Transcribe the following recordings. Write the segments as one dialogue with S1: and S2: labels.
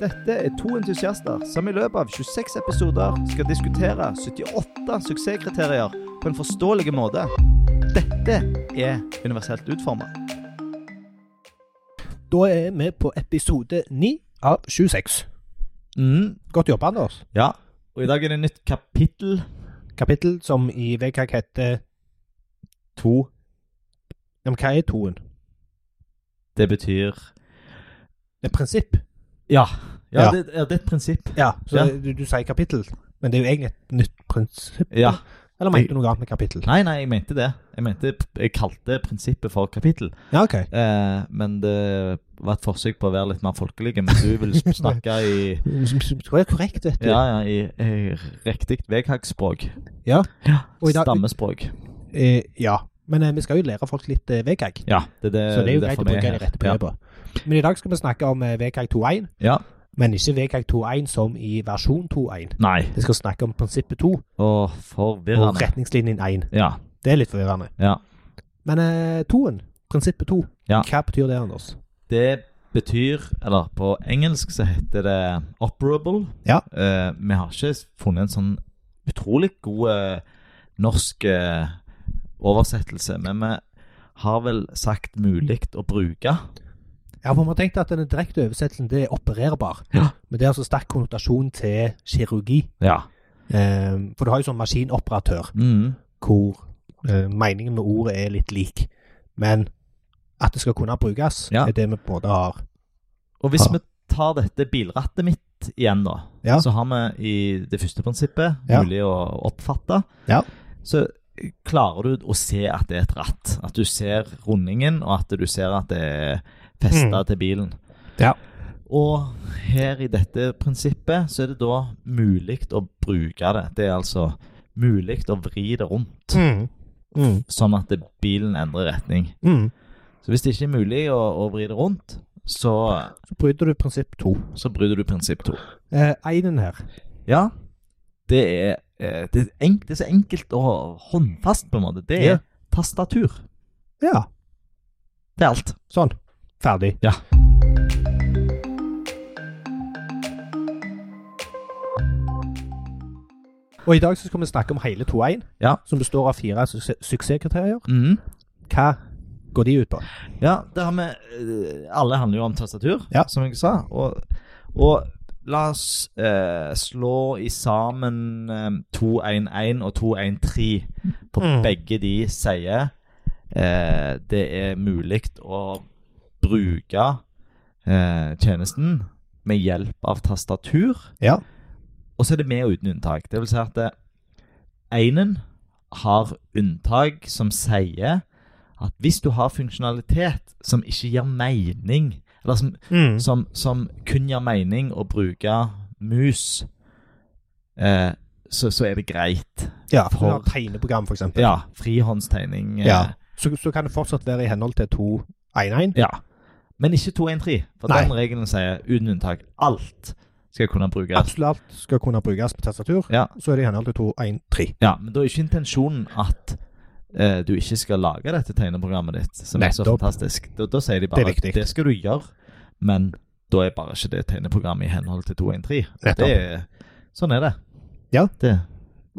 S1: Dette er to entusiaster som i løpet av 26 episoder skal diskutere 78 suksesskriterier på en forståelig måte. Dette er universelt utforma.
S2: Da er vi på episode 9 av 26. Godt jobba, Anders.
S1: ja. Mm. Og i dag er det nytt kapittel
S2: Kapittel som i VKK heter
S1: to.
S2: Ja, men hva er toen?
S1: Det betyr
S2: Det er prinsipp.
S1: Ja.
S2: Ja.
S1: Det, ja, det er et prinsipp.
S2: Ja, så
S1: Ja.
S2: Du, du sier kapittel, men det er jo egentlig et nytt prinsipp.
S1: Ja.
S2: Eller mente du noe annet med kapittel?
S1: Nei, nei, jeg mente det. Jeg, mente, jeg kalte prinsippet for kapittel.
S2: Ja, OK.
S1: Eh, men det var et forsøk på å være litt mer folkelig. Men du vil snakke i
S2: Det var korrekt, vet du.
S1: Ja, ja, i, i riktig veghagspråk.
S2: Ja. Og i dag-
S1: Stammespråk.
S2: Eh, ja. Men eh, vi skal jo lære folk litt eh, VKG.
S1: Ja, det er Eh, det,
S2: Så det er jo greit
S1: derfor
S2: å
S1: vi
S2: bruke
S1: her.
S2: de rette begrepene. Men i dag skal vi snakke om eh, VKG 2.1,
S1: Ja. ja.
S2: men ikke VKG 2.1 som i versjon 2.1.
S1: Nei.
S2: Vi skal snakke om prinsippet 2
S1: Å,
S2: og
S1: forvirrende.
S2: retningslinjen 1.
S1: Ja.
S2: Det er litt forvirrende.
S1: ja.
S2: Men eh, toen, prinsippet to,
S1: Ja.
S2: hva betyr det, Anders?
S1: Det betyr Eller på engelsk så heter det operable.
S2: Ja.
S1: Eh, vi har ikke funnet en sånn utrolig god eh, norsk eh, oversettelse, men vi har vel sagt mulig å bruke.
S2: Ja, for Vi har tenkt at den direkte oversettelsen det er opererbar,
S1: Ja.
S2: men det er altså sterk konnotasjon til kirurgi.
S1: Ja.
S2: Eh, for du har jo sånn maskinoperatør,
S1: Mm.
S2: hvor eh, meningen med ordet er litt lik. Men at det skal kunne brukes,
S1: Ja.
S2: er det vi på en måte har.
S1: Og hvis vi
S2: Ja.
S1: tar dette bilrattet mitt igjen, da,
S2: Ja.
S1: så har vi i det første prinsippet
S2: Ja.
S1: mulig å oppfatte.
S2: Ja.
S1: Så klarer du å se at det er et ratt. At du ser rundingen, og at du ser at det er festa til bilen.
S2: Mm. Ja.
S1: Og her i dette prinsippet så er det da mulig å bruke det. Det er altså mulig å vri det rundt,
S2: Mm. Mm.
S1: sånn at det- bilen endrer retning.
S2: Mm.
S1: Så hvis det ikke er mulig å, å vri det rundt, så,
S2: Så bryter du prinsipp to.
S1: så bryter du prinsipp to.
S2: Eh, Einen her.
S1: Ja, det er, eh, det, er enk, det er så enkelt og håndfast, på en måte. Det er
S2: Ja.
S1: tastatur.
S2: Ja,
S1: Det er alt.
S2: sånn. Ferdig.
S1: Ja.
S2: Og i dag så skal vi snakke om hele 2.1,
S1: Ja.
S2: som består av fire suksess- suksesskriterier.
S1: Mhm.
S2: Hva går de ut på?
S1: Ja, det har vi eh, Alle handler jo om tastatur,
S2: Ja.
S1: som jeg sa. Og, og la oss eh, slå i sammen eh, 211 og 213, for
S2: Mm.
S1: begge de sier eh, det er mulig å bruke eh, tjenesten med hjelp av tastatur.
S2: Ja.
S1: Og så er det med og uten unntak. Det vil si at eh, einen har unntak som sier at hvis du har funksjonalitet som ikke gir mening, eller som,
S2: Mm.
S1: som, som kun gir mening å bruke mus, eh, så, så er det greit.
S2: Ja, for
S1: For-
S2: du har tegneprogram, for eksempel.
S1: Ja, frihåndstegning. eh,
S2: Ja. Så, så kan det fortsatt være i henhold til 2.1.1.
S1: ja. Men ikke 213, for
S2: Nei.
S1: den regelen sier uten unntak alt skal kunne brukes.
S2: Absolutt alt skal kunne brukes med tastatur.
S1: Ja.
S2: Så er det i henhold til 2.1.3.
S1: Ja, men da er ikke intensjonen at eh, du ikke skal lage dette tegneprogrammet ditt, som er så
S2: Nettopp.
S1: fantastisk. Da, da sier de
S2: Det
S1: bare
S2: er viktig.
S1: at det skal du gjøre, men da er bare ikke det tegneprogrammet i henhold til 213.
S2: Nettopp.
S1: Det er- Sånn er det.
S2: Ja.
S1: Det,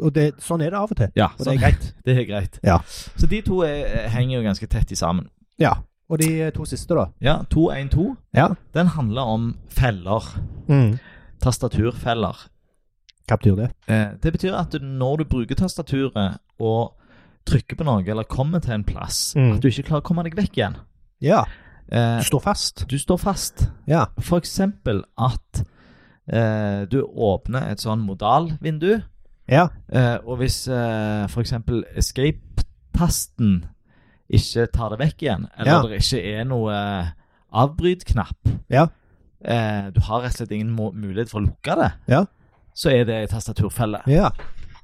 S2: Og det, sånn er det av og til.
S1: ja
S2: Og
S1: sånn,
S2: det er greit.
S1: det er greit.
S2: Ja.
S1: Så de to er, eh, henger jo ganske tett i sammen.
S2: Ja. Og de eh, to siste, da?
S1: Ja, 212
S2: Ja.
S1: den handler om feller. Mm. Tastaturfeller.
S2: Hva betyr det?
S1: Eh, Det betyr at du- når du bruker tastaturet og trykker på noe, eller kommer til en plass,
S2: Mm.
S1: at du ikke klarer å komme deg vekk igjen.
S2: Ja,
S1: Eh,
S2: du står fast.
S1: du står fast.
S2: Ja.
S1: For eksempel at eh, du åpner et sånn modalvindu,
S2: Ja.
S1: eh, og hvis eh, for eksempel escape-tasten ikke tar det vekk igjen, eller
S2: Ja.
S1: det ikke er noe eh, avbryt-knapp,
S2: Ja.
S1: eh, du har rett og slett ingen må- mulighet for å lukke det,
S2: Ja.
S1: så er det en tastaturfelle.
S2: Ja.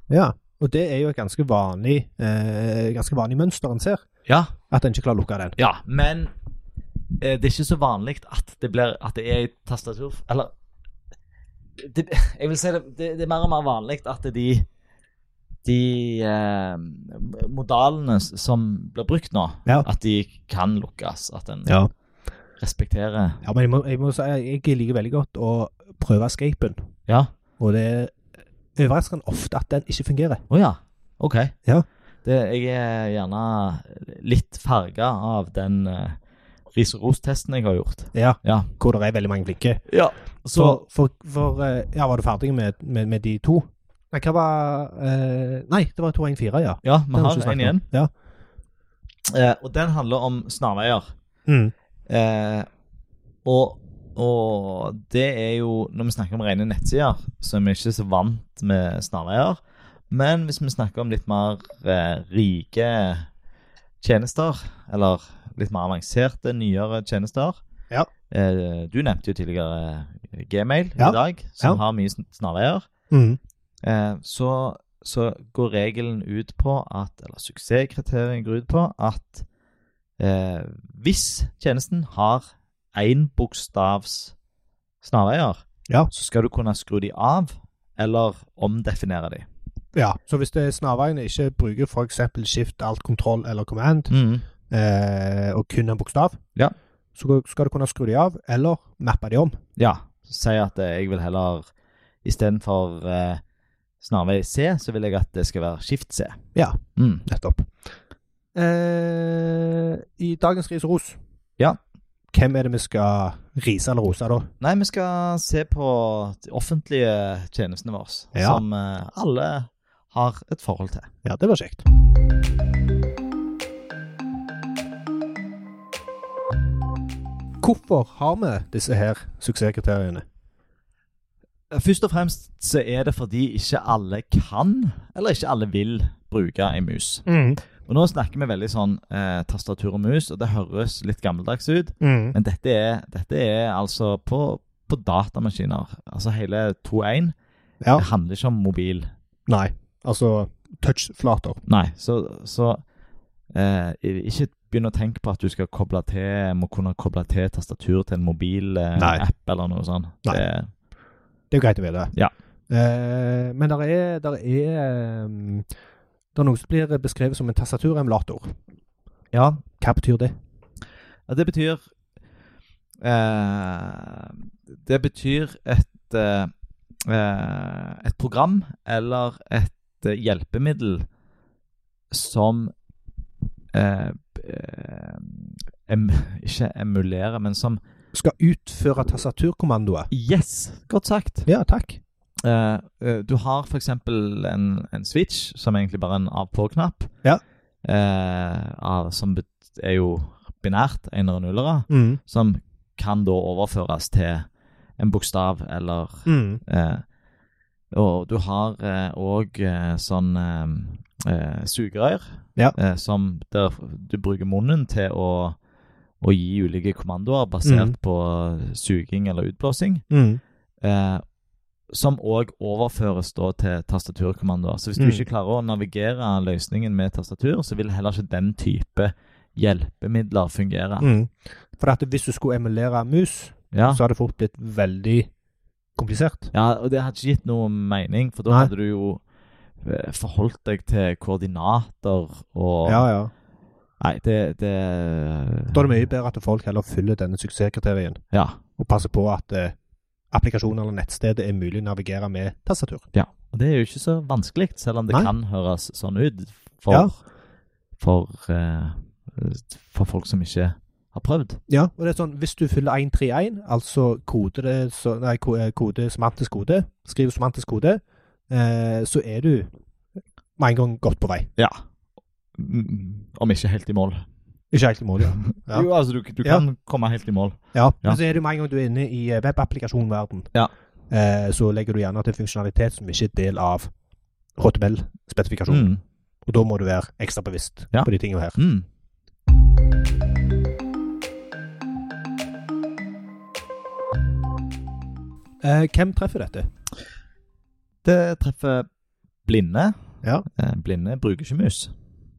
S2: ja. Og det er jo et ganske vanlig, eh, ganske vanlig mønster en ser,
S1: Ja,
S2: at en ikke klarer å lukke den.
S1: Ja, men eh, det er ikke så vanlig at det, blir, at det er i tastatur Eller det, Jeg vil si det, det, det er mer og mer vanlig at de de eh, modalene s- som blir brukt nå,
S2: Ja.
S1: at de kan lukkes. At en,
S2: Ja.
S1: respekterer
S2: Ja, men jeg må, jeg må si jeg liker veldig godt å prøve escapen.
S1: Ja.
S2: Og det er overraskende ofte at den ikke fungerer.
S1: Å ja. OK.
S2: Ja.
S1: Det, jeg er gjerne litt farga av den uh, ris og ros-testen jeg har gjort.
S2: Ja,
S1: Ja.
S2: Hvor det er veldig mange flinke.
S1: ja. Så
S2: For, for, for eh, Ja, var du ferdig med, med, med de to? Nei, hva var eh, Nei, det var 214, ja.
S1: Ja, vi
S2: Den vi
S1: har
S2: ikke
S1: en
S2: snakket om.
S1: igjen. Eh, og den handler om snarveier.
S2: Ja. Mm.
S1: Eh, og, og det er jo Når vi snakker om rene nettsider, så er vi ikke så vant med snarveier. Men hvis vi snakker om litt mer eh, rike tjenester, eller litt mer avanserte, nyere tjenester
S2: Ja.
S1: eh, Du nevnte jo tidligere eh, Gmail
S2: Ja.
S1: i dag, som
S2: Ja.
S1: har mye sn- snarveier.
S2: Mm.
S1: Eh, så, så går regelen ut på at, eller suksesskriteriet går ut på at eh, hvis tjenesten har én bokstavs snarveier,
S2: Ja.
S1: så skal du kunne skru de av eller omdefinere de.
S2: ja. Så hvis det er snarveiene ikke bruker f.eks. skift, alt, kontroll eller command,
S1: Mm.
S2: eh, og kun en bokstav,
S1: Ja.
S2: så skal du kunne skru de av eller mappe de om.
S1: Ja. Si at eh, jeg vil heller istedenfor eh, snarvei C, så vil jeg at det skal være skift C.
S2: Ja.
S1: Mm.
S2: Nettopp. Eh, I dagens ris og ros
S1: Ja.
S2: Hvem er det vi skal rise eller rose, da?
S1: Nei, vi skal se på de offentlige tjenestene våre,
S2: Ja.
S1: som eh, alle har et forhold til.
S2: Ja, det var kjekt. Hvorfor har vi disse her suksesskriteriene?
S1: Først og fremst så er det fordi ikke alle kan, eller ikke alle vil, bruke en mus. Og Nå snakker vi veldig sånn eh, tastatur og mus, og det høres litt gammeldags ut, men dette er, dette er altså på, på datamaskiner. Altså hele 2.1.
S2: Ja.
S1: Det handler ikke om mobil.
S2: Nei, altså touchflater.
S1: Nei, så, så eh, ikke begynn å tenke på at du skal koble til, må kunne koble til tastatur til en
S2: Nei.
S1: mobil-app eller noe sånt.
S2: Nei.
S1: Det-
S2: Det er jo greit å vite.
S1: Ja.
S2: Eh, men der er, der er um, Det er noe som blir beskrevet som en tastaturemulator.
S1: ja,
S2: Hva betyr det?
S1: Ja, det betyr eh, Det betyr et eh, eh, Et program eller et eh, hjelpemiddel som eh, eh, em, Ikke emulerer, men som
S2: Skal utføre tastaturkommandoer.
S1: Yes! Godt sagt.
S2: Ja, takk.
S1: Eh, eh, du har for eksempel en, en switch, som egentlig bare er en av-på-knapp.
S2: Ja.
S1: Eh, av, som bet- er jo binært, enere og nullere
S2: Mm.
S1: som kan da overføres til en bokstav eller
S2: Mm.
S1: eh, Og du har òg eh, sånn eh, eh, sugerør
S2: Ja.
S1: eh, som der du bruker munnen til å, å gi ulike kommandoer basert
S2: Mhm.
S1: på suging eller utblåsing.
S2: Mm.
S1: Eh, som òg overføres da til tastaturkommandoer. Så hvis du
S2: Mm.
S1: ikke klarer å navigere løsningen med tastatur, så vil heller ikke den type hjelpemidler fungere.
S2: Mm. For at hvis du skulle emulere mus,
S1: Ja.
S2: så hadde det fort blitt veldig komplisert.
S1: Ja, og det hadde ikke gitt noen mening, for da
S2: Nei.
S1: hadde du jo eh, forholdt deg til koordinater og
S2: Ja, ja.
S1: Nei, det, det
S2: Da er det mye bedre at folk heller følger denne suksesskriterien,
S1: Ja.
S2: og passer på at eh, applikasjonen eller nettstedet er mulig å navigere med tastatur.
S1: Og det er jo ikke så vanskelig, selv om det
S2: Nei.
S1: kan høres sånn ut for
S2: Ja.
S1: for, eh, for folk som ikke har prøvd.
S2: Ja, og det er sånn, Hvis du fyller 131, altså kode, det, så, nei, ko- eh, kode semantisk kode, skriver semantisk kode, eh, så er du med en gang godt på vei.
S1: Ja. Mm, Om ikke helt i mål.
S2: Ikke helt i mål, ja. Ja.
S1: Jo, altså, du, du
S2: Ja.
S1: kan komme helt i mål.
S2: ja.
S1: Ja.
S2: Men så er det med en gang du er inne i eh, webapplikasjonverden,
S1: Ja.
S2: eh, så legger du gjerne til funksjonalitet som ikke er del av HTML-spesifikasjonen.
S1: Mm.
S2: Og da må du være ekstra bevisst
S1: Ja.
S2: på de tingene her.
S1: Mm.
S2: Eh, hvem treffer dette?
S1: Det treffer blinde.
S2: Ja.
S1: Eh, blinde bruker ikke mus.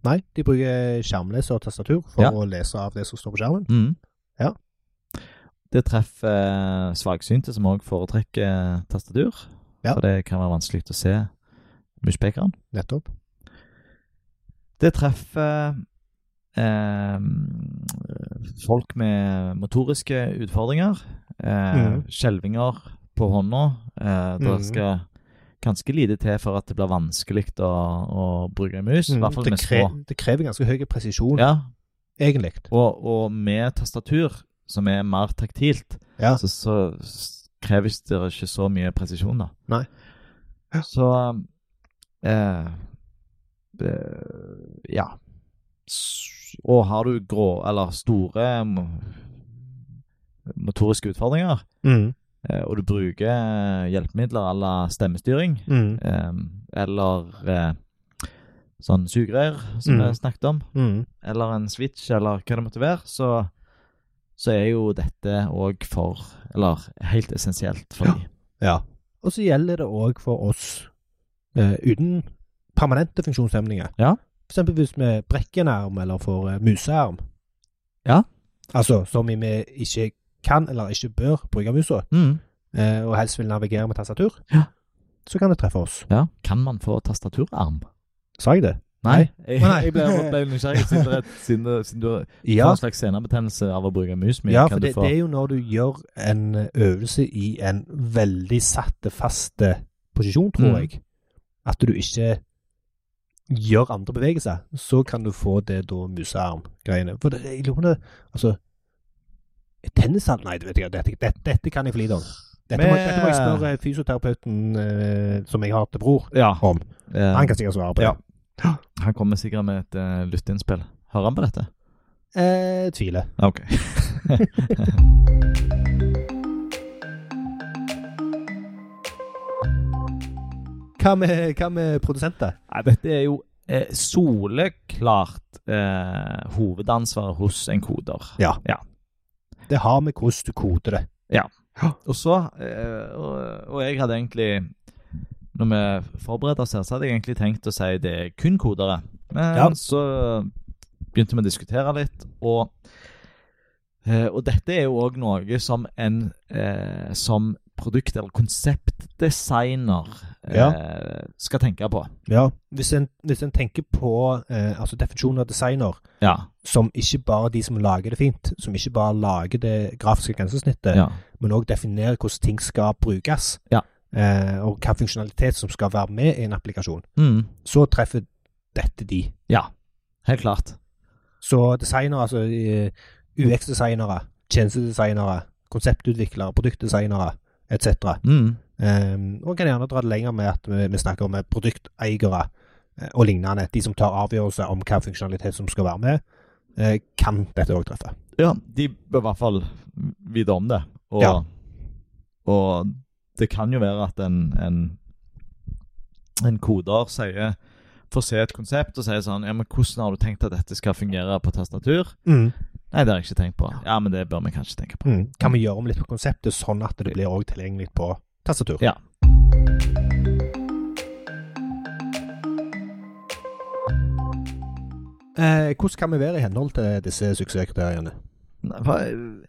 S2: Nei, de bruker skjermleser og tastatur for
S1: Ja.
S2: å lese av det som står på skjermen.
S1: Mm.
S2: Ja.
S1: Det treffer svaksynte, som òg foretrekker tastatur.
S2: Ja.
S1: For det kan være vanskelig å se muspekeren.
S2: Nettopp.
S1: Det treffer eh, folk med motoriske utfordringer, eh,
S2: Mhm.
S1: skjelvinger på hånda. Eh, det
S2: Mhm.
S1: skal ganske lite til for at det blir vanskelig å, å bruke en mus. I hvert fall
S2: Mm. det,
S1: med små.
S2: kre- det krever ganske høy presisjon,
S1: Ja,
S2: egentlig.
S1: og, og med tastatur, som er mer taktilt,
S2: Ja.
S1: så, så s- kreves det ikke så mye presisjon, da.
S2: Nei. Ja.
S1: Så um, eh, eh, Ja. S- Og har du grå, eller store mo- motoriske utfordringer,
S2: Mm,
S1: eh, og du bruker eh, hjelpemidler à la stemmestyring,
S2: mm,
S1: eh, eller eh, sånn sugerør, som
S2: Mm.
S1: vi snakket om,
S2: mm.
S1: eller en Switch, eller hva det måtte være, så, så er jo dette òg for Eller helt essensielt for
S2: Ja.
S1: de.
S2: Ja. Og så gjelder det òg for oss eh, uten permanente funksjonshemninger.
S1: Ja.
S2: For eksempel hvis vi brekker en arm eller får eh, musearm.
S1: Ja.
S2: Altså som vi med ikke kan eller ikke bør bruke musa,
S1: Mm.
S2: eh, og helst vil navigere med tastatur,
S1: Ja.
S2: så kan det treffe oss.
S1: Ja. Kan man få tastaturarm?
S2: Sa jeg det?
S1: Nei. Jeg,
S2: Å, nei.
S1: jeg ble, ble nysgjerrig siden, det- siden, det- siden du får
S2: Ja,
S1: en slags senebetennelse av å bruke mus mye.
S2: ja
S1: kan
S2: for
S1: du
S2: det,
S1: få
S2: det er jo når du gjør en eh, øvelse i en veldig satte, faste posisjon, tror
S1: Mm.
S2: jeg, at du ikke gjør andre bevegelser, så kan du få det da musearm-greiene. For det, jeg lurer på om det Altså Tennisarm? Nei, det vet jeg ikke. Dette, dette, dette kan jeg for lite om. Dette, må,
S1: Men-
S2: dette må jeg spørre fysioterapeuten eh, som jeg har til bror.
S1: Ja.
S2: Om.
S1: Eh,
S2: Han kan sikkert svare på det.
S1: Ja. han kommer sikkert med et uh, lytteinnspill. Hører han på dette?
S2: Eh, tviler.
S1: Ja, OK.
S2: Hva med, hva med produsenter?
S1: Nei, dette er jo eh, soleklart eh, hovedansvaret hos en koder.
S2: Det har med hvordan du koder det.
S1: Og så, eh, og, og jeg hadde egentlig Når vi forberedte oss her, så hadde jeg egentlig tenkt å si det er kun kodere. Men
S2: Ja.
S1: så begynte vi å diskutere litt, og eh, Og dette er jo òg noe som en eh, som produkt- eller konseptdesigner eh, skal tenke på.
S2: Ja, hvis en, hvis en tenker på eh, altså definisjonen av designer
S1: Ja.
S2: som ikke bare de som lager det fint, som ikke bare lager det grafiske grensesnittet,
S1: ja.
S2: men òg definerer hvordan ting skal brukes,
S1: Ja.
S2: eh, og hva funksjonalitet som skal være med i en applikasjon,
S1: Mm,
S2: så treffer dette de.
S1: helt klart.
S2: Så designere, altså eh, UX-designere, tjenestedesignere, konseptutviklere, produktdesignere etc.
S1: Mm,
S2: Um, og kan gjerne dra det lenger med at vi, vi snakker om eh, produkteiere eh, og lignende. De som tar avgjørelser om hva funksjonalitet som skal være med, eh, kan dette òg treffe.
S1: Ja, de bør i hvert fall vite om det. Og,
S2: Ja.
S1: og det kan jo være at en, en, en koder sier får se et konsept og sier sånn Ja, men hvordan har du tenkt at dette skal fungere på tastatur? Nei, det har jeg ikke tenkt på. Ja, men det bør vi kanskje tenke på.
S2: Mm. Kan vi gjøre om litt på konseptet, sånn at det blir òg tilgjengelig på tastatur?
S1: Ja.
S2: Eh, hvordan kan vi være i henhold til disse suksesskriteriene?
S1: Nei, hva-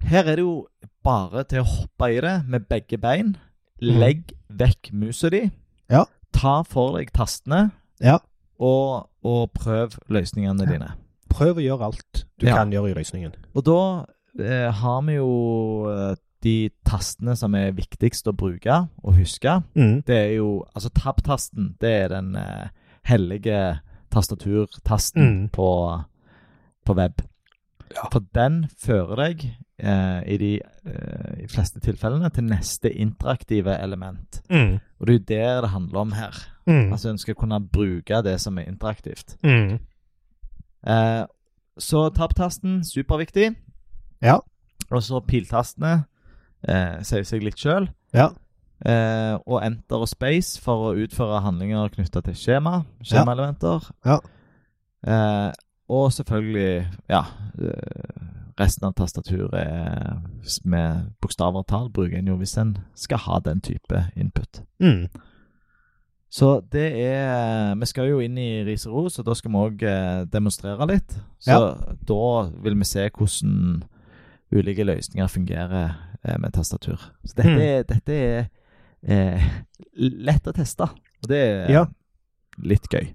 S1: Her er det jo bare til å hoppe i det med begge bein.
S2: Mhm.
S1: Legg vekk musa di.
S2: Ja.
S1: Ta for deg tastene,
S2: Ja.
S1: og, og prøv løsningene
S2: Ja.
S1: dine.
S2: Prøv å gjøre alt du
S1: Ja.
S2: kan gjøre i løsningen.
S1: Og da eh, har vi jo eh, de tastene som er viktigst å bruke og huske.
S2: Mm.
S1: Det er jo Altså tab-tasten, det er den eh, hellige tastaturtasten
S2: Mm.
S1: på, på web.
S2: Ja.
S1: For den fører deg eh, i de eh, i fleste tilfellene til neste interaktive element.
S2: Mm.
S1: Og det er jo der det handler om her.
S2: Mm.
S1: Altså en skal kunne bruke det som er interaktivt.
S2: Mm.
S1: Eh, så tab-tasten, superviktig.
S2: Ja.
S1: Og så piltastene, eh, sier seg litt sjøl.
S2: Ja.
S1: Eh, og enter og space for å utføre handlinger knytta til skjema, skjemaelementer.
S2: Ja.
S1: Eh, og selvfølgelig, ja eh, Resten av tastaturet er med bokstaver og tall bruker en jo hvis en skal ha den type input.
S2: Mm.
S1: Så det er Vi skal jo inn i ris og ros, og da skal vi òg demonstrere litt. Så da vil vi se hvordan ulike løsninger fungerer eh, med tastatur. Så dette,
S2: Mm.
S1: er- dette er eh, lett å teste, og det er
S2: Ja.
S1: litt gøy.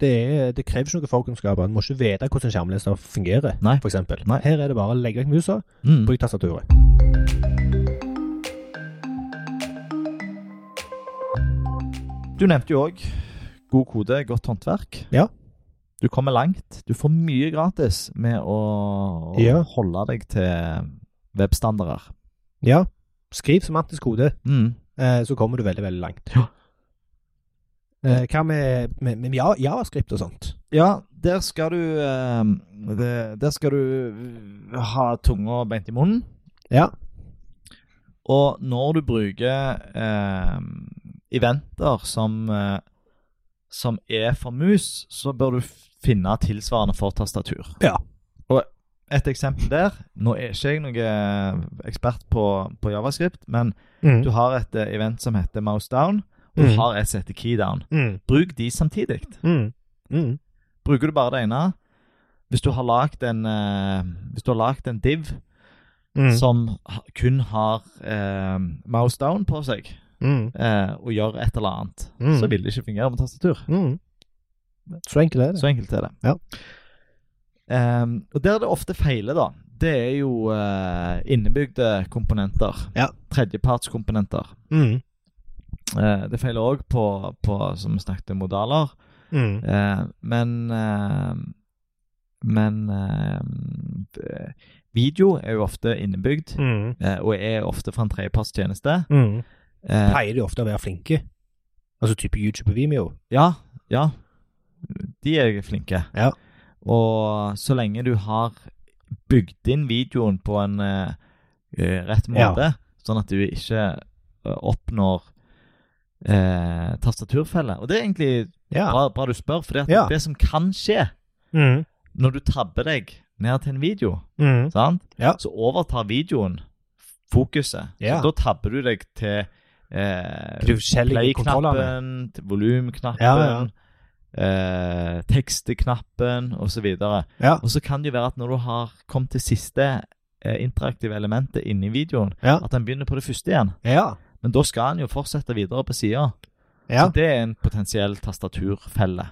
S2: Det, er, det krever ikke noen forkunnskaper. En må ikke vite hvordan en skjermleser fungerer,
S1: Nei.
S2: for eksempel.
S1: Nei.
S2: Her er det bare å legge vekk musa,
S1: Mm.
S2: bruk tastaturet.
S1: Du nevnte jo òg god kode, godt håndverk.
S2: Ja.
S1: Du kommer langt. Du får mye gratis med å, å
S2: Ja.
S1: holde deg til webstandarder.
S2: Ja, skriv semantisk kode,
S1: Mm.
S2: eh, så kommer du veldig, veldig langt.
S1: Ja.
S2: Eh, hva med, med, med Ja- JavaScript og sånt?
S1: Ja, der skal du eh, det- Der skal du eh, ha tunga beint i munnen.
S2: Ja.
S1: Og når du bruker eh, eventer som, eh, som er for mus, så bør du f- finne tilsvarende for tastatur.
S2: Ja.
S1: Og et eksempel der Nå er ikke jeg noen ekspert på, på javascript, men du har et eh, event som heter mouse down, og du
S2: Mm.
S1: har et som heter key down.
S2: Mm.
S1: Bruk de samtidig.
S2: Mm. Mm.
S1: Bruker du bare det ene Hvis du har lagd en, eh, hvis du har lagt en div
S2: Mm.
S1: som ha- kun har eh, mouse down på seg,
S2: Mm.
S1: eh, og gjør et eller annet,
S2: Mm.
S1: så vil det ikke fungere med tastatur.
S2: Mm. Så enkelt er det.
S1: Så enkelt er det.
S2: Ja.
S1: Ehm, og der det ofte feiler, da, det er jo eh, innebygde komponenter.
S2: Ja.
S1: Tredjepartskomponenter.
S2: Mm.
S1: Eh, det feiler òg på, på, som vi snakket, om, modaler.
S2: Mm.
S1: Eh, men eh, Men eh, det- video er jo ofte innebygd,
S2: Mm.
S1: eh, og er ofte fra en tredjepartstjeneste.
S2: Mm.
S1: Eh,
S2: Pleier de ofte å være flinke? Altså type YouTube og Vimeo?
S1: Ja, ja. De er flinke.
S2: Ja.
S1: Og så lenge du har bygd inn videoen på en eh, eh, rett
S2: Ja.
S1: måte, sånn at du ikke eh, oppnår eh, tastaturfelle. Og det er egentlig
S2: Ja.
S1: bra, bra du spør, for
S2: Ja.
S1: det som kan skje
S2: Mm.
S1: når du tabber deg ned til en video,
S2: Mm.
S1: sant?
S2: Ja.
S1: så overtar videoen fokuset.
S2: Ja.
S1: Så da tabber du deg til eh,
S2: De forskjellige kontrollene.
S1: Play-knappen, til volumknappen,
S2: Ja,
S1: eh, teksteknappen osv. Og
S2: Ja.
S1: så kan det jo være at når du har kommet til siste eh, interaktive elementet inni videoen,
S2: Ja.
S1: at den begynner på det første igjen.
S2: Ja.
S1: Men da skal den jo fortsette videre på sida.
S2: ja.
S1: Så det er en potensiell tastaturfelle.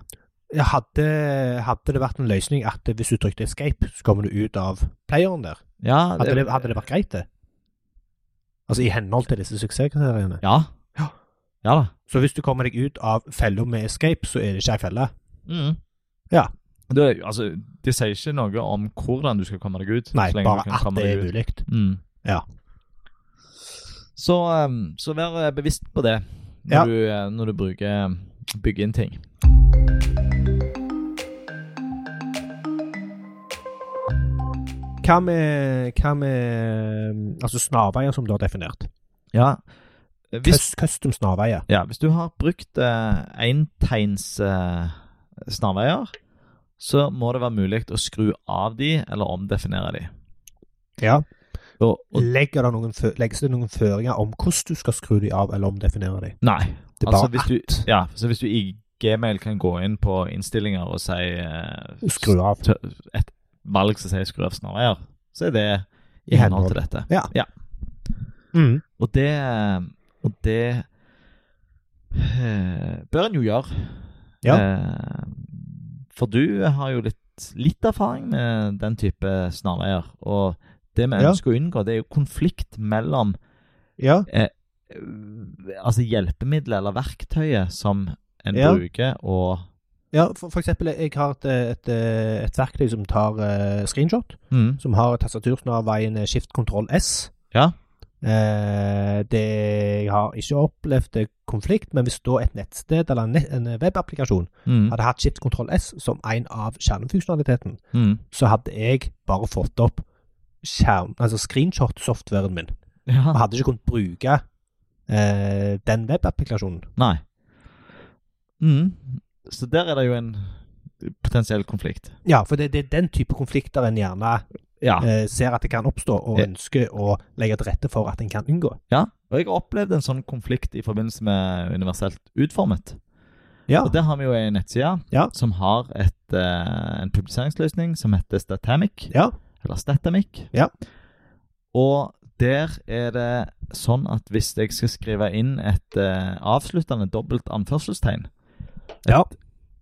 S2: Ja, Hadde, hadde det vært en løsning at hvis du trykte escape, så kommer du ut av playeren der?
S1: Ja,
S2: Hadde det, hadde det vært greit, det? Altså i henhold til disse suksesskriteriene.
S1: Ja.
S2: Ja.
S1: Ja da.
S2: Så hvis du kommer deg ut av fella med escape, så er det ikke ei felle?
S1: Mm.
S2: Ja.
S1: Det, er- altså, det sier ikke noe om hvordan du skal komme deg ut.
S2: Nei,
S1: så lenge
S2: bare
S1: du kan
S2: at
S1: komme
S2: det
S1: deg
S2: er
S1: ut.
S2: mulig.
S1: Mm.
S2: Ja.
S1: Så, um, så vær eh, bevisst på det når,
S2: Ja.
S1: du, eh, når du bruker eh, bygger inn ting.
S2: Hva med, hva med altså snarveier som du har definert?
S1: Ja. Eh, Hvis,
S2: Hvis, custom snarveier.
S1: ja, hvis du har brukt eh, entegns eh, snarveier, så må det være mulig å skru av de eller omdefinere de.
S2: Ja.
S1: Og, og,
S2: Legger det noen, fø- legges det noen føringer om hvordan du skal skru de av eller omdefinere de?
S1: nei.
S2: Det er
S1: Altså,
S2: bare
S1: hvis du,
S2: at
S1: ja, så hvis du i Gmail kan gå inn på innstillinger og si eh,
S2: skru av.
S1: tø- et valg som sier skru av snarveier, så er det i
S2: I
S1: henhold
S2: henhold.
S1: til dette.
S2: Mm.
S1: Og det Og det eh, bør en jo gjøre.
S2: Ja.
S1: Eh, for du har jo litt, litt erfaring med den type snarveier. Og det vi
S2: Ja.
S1: ønsker å unngå, det er jo konflikt mellom
S2: Ja.
S1: eh, Altså hjelpemiddelet eller verktøyet som en
S2: Ja.
S1: bruker, og
S2: ja for, for eksempel, jeg har et, eh, et, et verktøy som tar eh, screenshot.
S1: mm,
S2: som har tastatursnarveien skift kontroll S.
S1: Ja.
S2: Eh, det, jeg har ikke opplevd eh, konflikt, men hvis da et nettsted eller en, nett, en eh, webapplikasjon
S1: mm,
S2: hadde hatt skift kontroll S som en av kjernefunksjonaliteten,
S1: mm.
S2: så hadde jeg bare fått opp skjerm, altså screenshot-softwaren min.
S1: Ja.
S2: Jeg hadde ikke kunnet bruke eh, den webapplikasjonen.
S1: Nei. Mm. Så der er det jo en potensiell konflikt.
S2: Ja, for det, det er den type konflikter en gjerne
S1: Ja.
S2: eh, ser at det kan oppstå, og
S1: Ja.
S2: ønsker å legge til rette for at en kan unngå.
S1: Ja, og jeg har opplevd en sånn konflikt i forbindelse med universelt utformet.
S2: Ja.
S1: Og der har vi jo ei nettside
S2: Ja.
S1: som har et, eh, en publiseringsløsning som heter Statamic.
S2: Ja.
S1: Eller Statamic.
S2: Ja.
S1: Og der er det sånn at hvis jeg skal skrive inn et eh, avsluttende dobbelt anførselstegn, et
S2: Ja.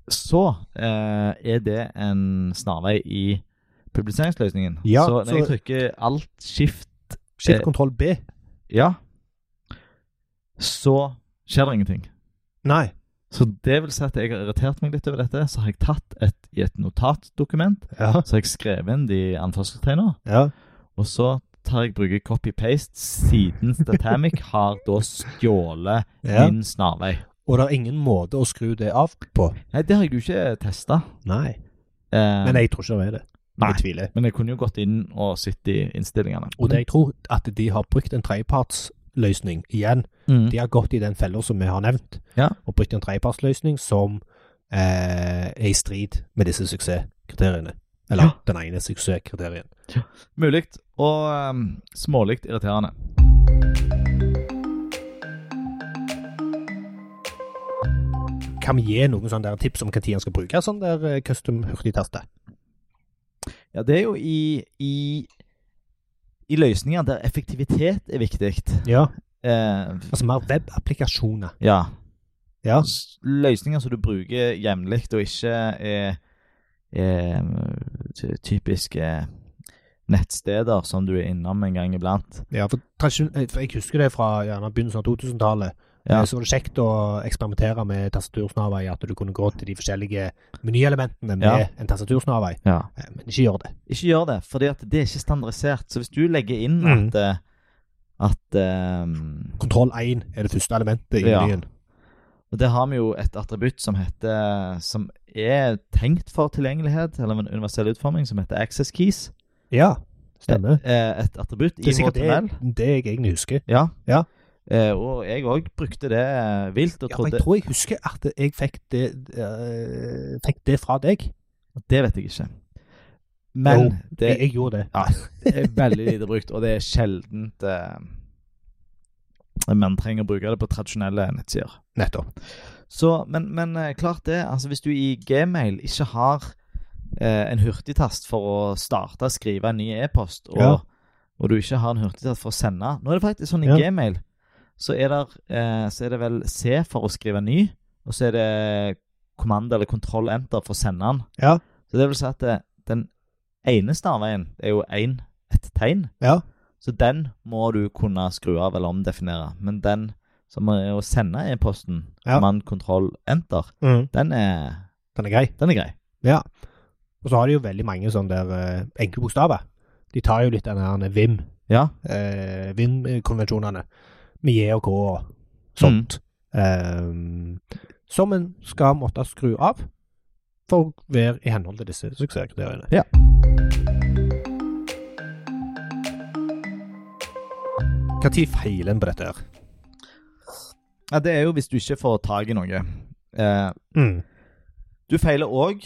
S1: så eh, er det en snarvei i publiseringsløsningen.
S2: Ja,
S1: så når jeg
S2: så-
S1: trykker alt skift
S2: Skift
S1: Eh,
S2: kontroll B.
S1: ja, så skjer det ingenting.
S2: Nei.
S1: Så det vil si at jeg har irritert meg litt over dette. Så har jeg tatt et, i et notatdokument,
S2: Ja.
S1: så har jeg skrevet inn de anførselstegner,
S2: ja.
S1: og så tar jeg bruker copy-paste siden Statamic har da stjålet
S2: Ja.
S1: min snarvei.
S2: Og det er ingen måte å skru det av på.
S1: Nei, det har jeg jo ikke testa.
S2: Nei.
S1: Eh,
S2: Men jeg tror ikke det er det.
S1: Nei.
S2: Jeg tviler.
S1: men jeg kunne jo gått inn og sett i innstillingene.
S2: Og det jeg tror, at de har brukt en tredjepartsløsning igjen.
S1: Mm.
S2: De har gått i den fella som vi har nevnt,
S1: Ja.
S2: og brukt en tredjepartsløsning som eh, er i strid med disse suksesskriteriene. Eller
S1: Ja.
S2: den ene suksesskriterien.
S1: Mulig og um, smålig irriterende.
S2: Kan vi gi noen sånne der tips om hva tid han skal bruke sånn der eh, custom hurtigtaste?
S1: Ja, det er jo i, i, i løsninger der effektivitet er viktig.
S2: Ja.
S1: Eh,
S2: Altså mer webapplikasjoner.
S1: ja.
S2: Ja.
S1: S- Løsninger som du bruker jevnlig, og ikke er, er ty- typiske nettsteder som du er innom en gang iblant.
S2: ja for, tradisjon- eh, for jeg husker det fra gjerne begynnelsen av 2000-tallet.
S1: Ja.
S2: Eh, Så var det kjekt å eksperimentere med tastatursnarvei, at du kunne gå til de forskjellige menyelementene med
S1: Ja.
S2: en tastatursnarvei.
S1: Ja.
S2: Eh, Men ikke gjør det.
S1: Ikke gjør det, for det er ikke standardisert. Så hvis du legger inn
S2: Mm.
S1: at, eh, at eh,
S2: Kontroll 1 er det første elementet i
S1: Ja.
S2: menyen.
S1: Og Der har vi jo et attributt som heter Som er tenkt for tilgjengelighet, eller en universell utforming, som heter access keys.
S2: Ja, stemmer.
S1: Eh, Et attributt
S2: Det
S1: i
S2: er sikkert
S1: HTML.
S2: det, det jeg egentlig husker.
S1: Ja.
S2: Ja.
S1: Eh, Og jeg òg brukte det eh, vilt, og
S2: Ja, for
S1: trodde
S2: jeg tror jeg husker at jeg fikk det, eh, fikk det fra deg.
S1: Det vet jeg ikke. Men
S2: Jo,
S1: det
S2: jeg, jeg gjorde det.
S1: Ja. det er veldig lite brukt, og det er sjeldent eh, man trenger å bruke det på tradisjonelle nettsider.
S2: Nettopp.
S1: Så, men, men eh, klart det. altså Hvis du i Gmail ikke har eh, en hurtigtast for å starte og skrive en ny e-post, og,
S2: Ja.
S1: og du ikke har en hurtigtast for å sende Nå er det faktisk sånn i
S2: Ja.
S1: Gmail, så er, der, eh, så er det vel C for å skrive ny, og så er det kommando eller kontroll enter for å sende den.
S2: Ja.
S1: Så det vil si at eh, den ene stavveien er jo én, ett tegn.
S2: Ja.
S1: Så den må du kunne skru av eller omdefinere. Men den som er å sende e-posten,
S2: Ja.
S1: mann, kontroll, enter,
S2: Mm.
S1: den er,
S2: Den er grei.
S1: den er grei.
S2: Ja. Og så har de jo veldig mange sånne der eh, enkle bokstaver. De tar jo litt den her VIM,
S1: Ja.
S2: eh, VIM-konvensjonene med J og K og sånt. Eh, som en skal måtte skru av for å være i henhold til disse suksesskriteriene.
S1: Ja.
S2: Når feiler en på dette her?
S1: ja. Det er jo hvis du ikke får tak i noe. Eh,
S2: Mm.
S1: du feiler òg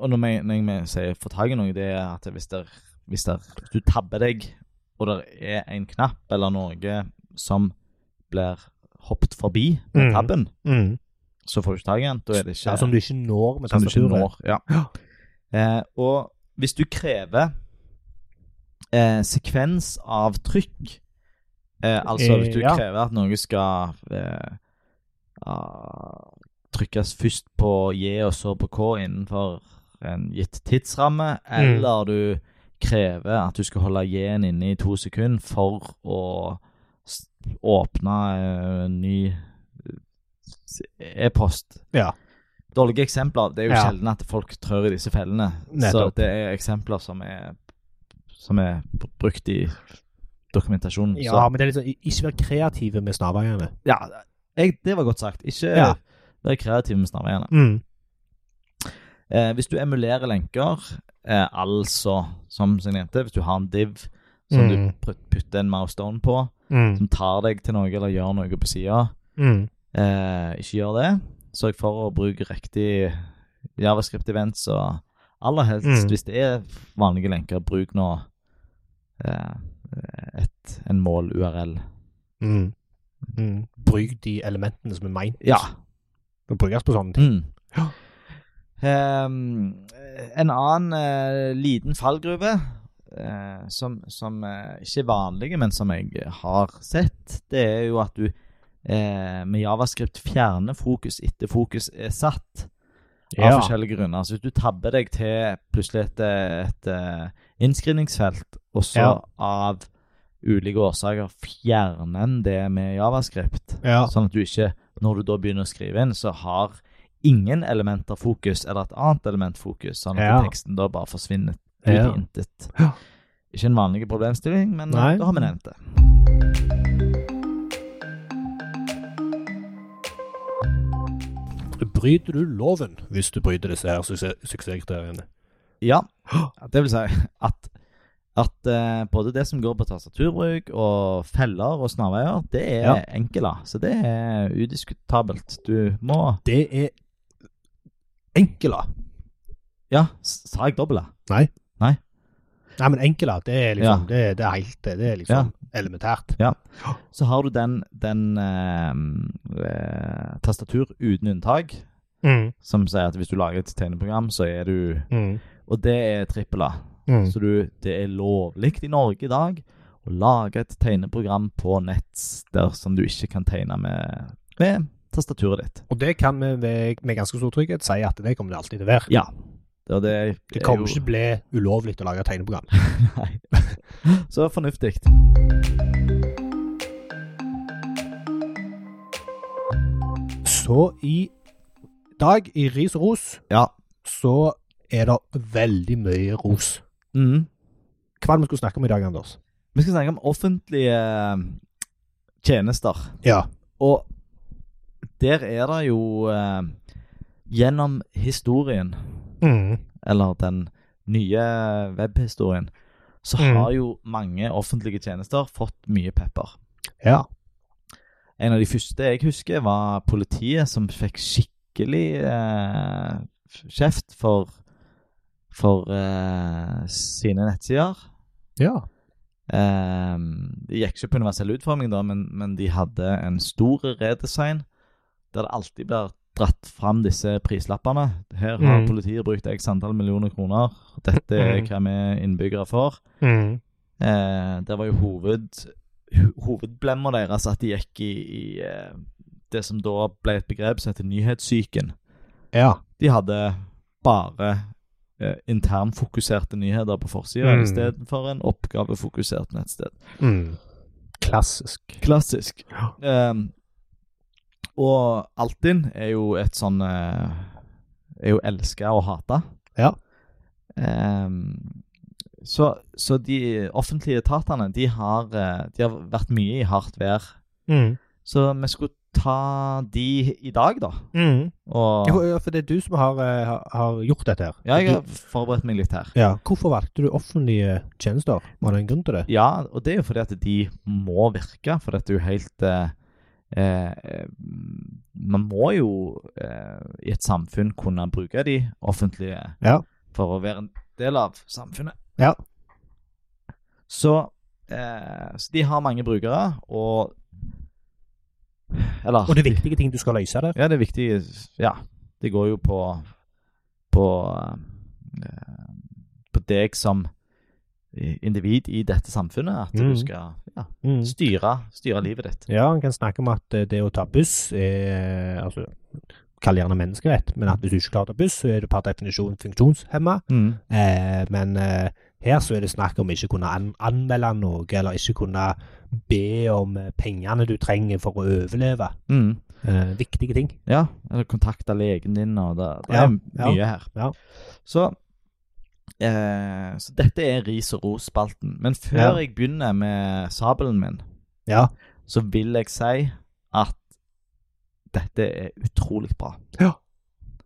S1: Og når jeg, når jeg sier få tak i noe, det er at hvis, der, hvis, der, hvis du tabber deg, og det er en knapp eller noe som blir hoppet forbi med
S2: Mm.
S1: tabben,
S2: Mm.
S1: så får du ikke tak i den. Da er det ikke
S2: Ja, som du ikke når med
S1: som du ikke
S2: tastaturet.
S1: når. Ja. Eh, og hvis du krever eh, sekvens av trykk, eh, altså
S2: Eh,
S1: hvis du
S2: ja.
S1: krever at noe skal eh, ah, trykkes først på J og så på K innenfor en gitt tidsramme,
S2: Mm.
S1: eller du krever at du skal holde J-en inne i to sekunder for å s- åpne eh, en ny eh, e-post
S2: Ja.
S1: dårlige eksempler. Det er jo
S2: Ja.
S1: sjelden at folk trør i disse fellene. Så
S2: Nettopp.
S1: det er eksempler som er, som er b- brukt i dokumentasjonen.
S2: ja,
S1: Så,
S2: men det er liksom ikke vær kreative med snarveiene.
S1: ja jeg, det var godt sagt. Ikke
S2: Ja.
S1: vær kreativ med snarveiene.
S2: Mm.
S1: Eh, hvis du emulerer lenker, eh, altså som jeg nevnte, hvis du har en div som
S2: Mm.
S1: du pr- putter en milestone på, som tar deg til noe eller gjør noe på sida,
S2: Mm.
S1: Eh, ikke gjør det. Sørg for å bruke riktig javascript-events, og aller helst,
S2: Mm.
S1: hvis det er vanlige lenker, bruk nå eh, et, en mål-URL.
S2: Mm. Mm. Bruk de elementene som er meint
S1: Ja.
S2: å brukes på sånne ting.
S1: Mm.
S2: Ja.
S1: Ehm, en annen eh, liten fallgruve eh, som, som eh, ikke er vanlige, men som jeg har sett, det er jo at du eh, med javascript fjerner fokus etter fokus er satt. av
S2: Ja.
S1: forskjellige grunner. Så hvis du tabber deg til plutselig et, eh, et eh, innskrivningsfelt, og så
S2: Ja.
S1: av ulike årsaker fjerner en det med javascript,
S2: ja.
S1: sånn at du ikke, når du da begynner å skrive inn, så har ingen elementer fokus, eller et annet element fokus, sånn at
S2: Ja.
S1: teksten da bare forsvinner ut
S2: Ja.
S1: i intet.
S2: Ja.
S1: Ikke en vanlig problemstilling, men eh,
S2: Nei.
S1: da har vi nevnt det.
S2: Bryter du loven hvis du bryter disse her suksess- suksesskriteriene?
S1: Ja. Det vil si at, at eh, både det som går på tastaturbruk og feller og snarveier, det er
S2: Ja.
S1: enkelt. da. Så det er udiskutabelt. Du må
S2: Det er enkela.
S1: Ja, s- sa jeg dobbel? da?
S2: Nei, men enkela, det er liksom
S1: Ja.
S2: det, det er helt det. Det er liksom elementært.
S1: Så har du den, den eh, eh, tastatur uten unntak,
S2: Mm,
S1: som sier at hvis du lager et tegneprogram, så er du Og det er trippel A.
S2: mm.
S1: Så du, det er lovlig i Norge i dag å lage et tegneprogram på nett der som du ikke kan tegne med, med tastaturet ditt.
S2: Og det kan vi med, med ganske stor trygghet si at det kommer det alltid til å være.
S1: Ja. Det, og det,
S2: Det
S1: er
S2: kommer
S1: jo-
S2: ikke til å bli ulovlig å lage tegneprogram.
S1: Nei. Så fornuftig.
S2: Så i dag, i ris og ros,
S1: Ja.
S2: så er det veldig mye ros.
S1: Mhm.
S2: Hva er det vi skulle snakke om i dag, Anders?
S1: Vi skal snakke om offentlige eh, tjenester.
S2: Ja.
S1: Og der er det jo eh, Gjennom historien,
S2: Mm.
S1: eller den nye webhistorien, så
S2: Mhm.
S1: har jo mange offentlige tjenester fått mye pepper.
S2: Ja.
S1: En av de første jeg husker, var politiet som fikk skikkelig eh, kjeft for, for eh, sine nettsider.
S2: Ja.
S1: Eh, de gikk ikke på universell utforming, da, men, men de hadde en stor redesign der det alltid blir dratt fram disse prislappene. Her har
S2: Mm.
S1: politiet brukt x antall millioner kroner. Dette er
S2: Mm.
S1: hva vi innbyggere får. Eh, det var jo hoved, ho- hovedblemmer deres at de gikk i, i eh, det som da ble et begrep som heter nyhetssyken.
S2: Ja.
S1: De hadde bare eh, internfokuserte nyheter på forsida
S2: Mm.
S1: istedenfor en oppgavefokusert nettsted.
S2: Klassisk.
S1: Klassisk.
S2: Ja.
S1: Ehm, og Altinn er jo et sånn eh, Er jo elska og hata.
S2: Ja.
S1: Ehm, så, så de offentlige etatene, de har, eh, de har vært mye i hardt vær.
S2: Mm.
S1: Så vi skulle ta de i dag, da.
S2: Mm.
S1: Og
S2: Ja, ja, for det er du som har, eh, har, har gjort dette her.
S1: Ja, jeg har
S2: Du-
S1: forberedt meg litt her.
S2: ja. Hvorfor valgte du offentlige tjenester? Var det en grunn til det?
S1: Ja, og det er jo fordi at de må virke, for det er jo helt eh, eh, Man må jo eh, i et samfunn kunne bruke de offentlige
S2: Ja.
S1: for å være en del av samfunnet.
S2: Ja.
S1: Så, eh, så de har mange brukere, og Eller
S2: Og det er viktige ting du skal løse der?
S1: Ja, det er viktig. Ja, det går jo på på, eh, på deg som individ i dette samfunnet, at du
S2: Mhm.
S1: skal ja, styre, styre livet ditt.
S2: Ja, en kan snakke om at eh, det å ta buss er altså, Kall det gjerne menneskerett, men at hvis du ikke klarer å ta buss, så er du per definisjon funksjonshemma. Eh, men eh, her så er det snakk om ikke kunne an anmelde noe, eller ikke kunne be om eh, pengene du trenger for å overleve.
S1: Mhm.
S2: Eh, viktige ting.
S1: Ja, eller kontakte legen din, og det, det
S2: Ja,
S1: er
S2: ja,
S1: mye her.
S2: ja.
S1: Så, eh, så dette er ris og ros-spalten. Men før
S2: Ja.
S1: jeg begynner med sabelen min,
S2: Ja.
S1: så vil jeg si at dette er utrolig bra.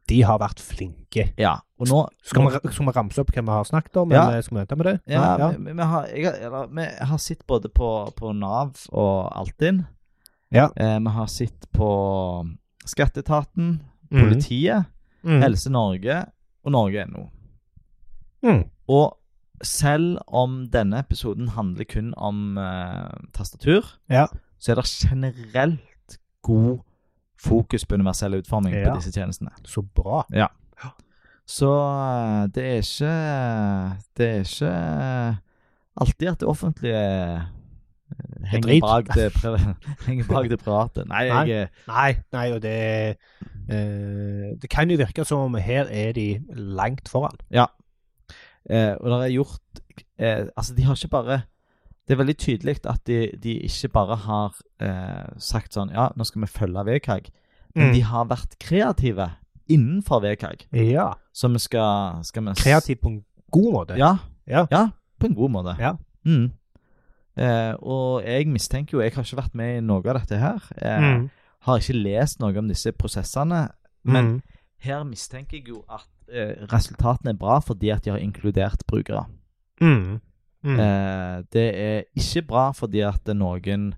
S2: De har vært flinke.
S1: Ja, og nå
S2: Skal vi, ra- skal vi ramse opp hva vi har snakket om,
S1: Ja.
S2: eller skal vi vente med det?
S1: Ja,
S2: ja. eh,
S1: Vi, vi, har, jeg, har- eller, vi har sett både på, på Nav og Altinn.
S2: Ja.
S1: Eh, vi har sett på Skatteetaten,
S2: Mm.
S1: politiet,
S2: Mm.
S1: Helse Norge og Norge.no.
S2: Mm.
S1: Og selv om denne episoden handler kun om eh, tastatur,
S2: Ja.
S1: så er det generelt god fokus på universell utforming
S2: Ja.
S1: på disse tjenestene.
S2: Så bra.
S1: Så eh, det er ikke eh, Det er ikke eh, alltid at det offentlige eh, henger
S2: drit.
S1: bak det, pri- henger bak det private. Nei, jeg,
S2: Nei, nei, og det Eh, det kan jo virke som om her er de langt foran.
S1: Eh, og det er gjort eh, Altså, de har ikke bare Det er veldig tydelig at de, de ikke bare har eh, sagt sånn Ja, nå skal vi følge VKG.
S2: Mm.
S1: Men de har vært kreative innenfor VKG.
S2: Ja.
S1: Så vi skal, skal vi s-
S2: Kreativt på en god måte.
S1: Ja,
S2: Ja.
S1: På en god måte.
S2: Ja.
S1: Mm. Eh, og jeg mistenker jo Jeg har ikke vært med i noe av dette her. Eh,
S2: Mm.
S1: Har ikke lest noe om disse prosessene. Men
S2: Men
S1: her mistenker jeg jo at eh, resultatene er bra fordi at de har inkludert brukere.
S2: mm. Mm.
S1: Eh, det er ikke bra fordi at noen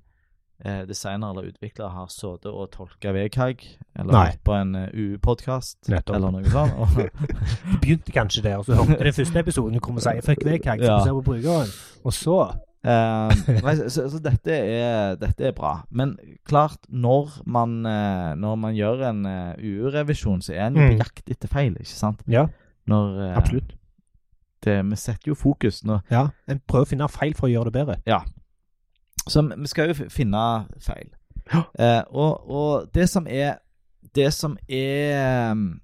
S1: eh, designere eller utviklere har sittet og tolka VKG eller
S2: Nei.
S1: hørt på en U-podkast
S2: Nettopp.
S1: eller noe sånt. Og,
S2: Du begynte kanskje der, og så hørte du den første episoden du kom og sa 'fuck vekk, jeg skal
S1: Ja.
S2: se på brukeren', og så
S1: eh, nei, så, så, så dette, er, dette er bra. Men klart, når man, eh, når man gjør en eh, UU-revisjon, så er en jo
S2: Mm.
S1: på jakt etter feil, ikke sant?
S2: Ja,
S1: Når, eh,
S2: absolutt.
S1: Det, vi setter jo fokus nå.
S2: Ja. En prøver å finne feil for å gjøre det bedre.
S1: Så vi skal jo f- finne feil.
S2: Ja.
S1: Eh, og, og det som er Det som er mm,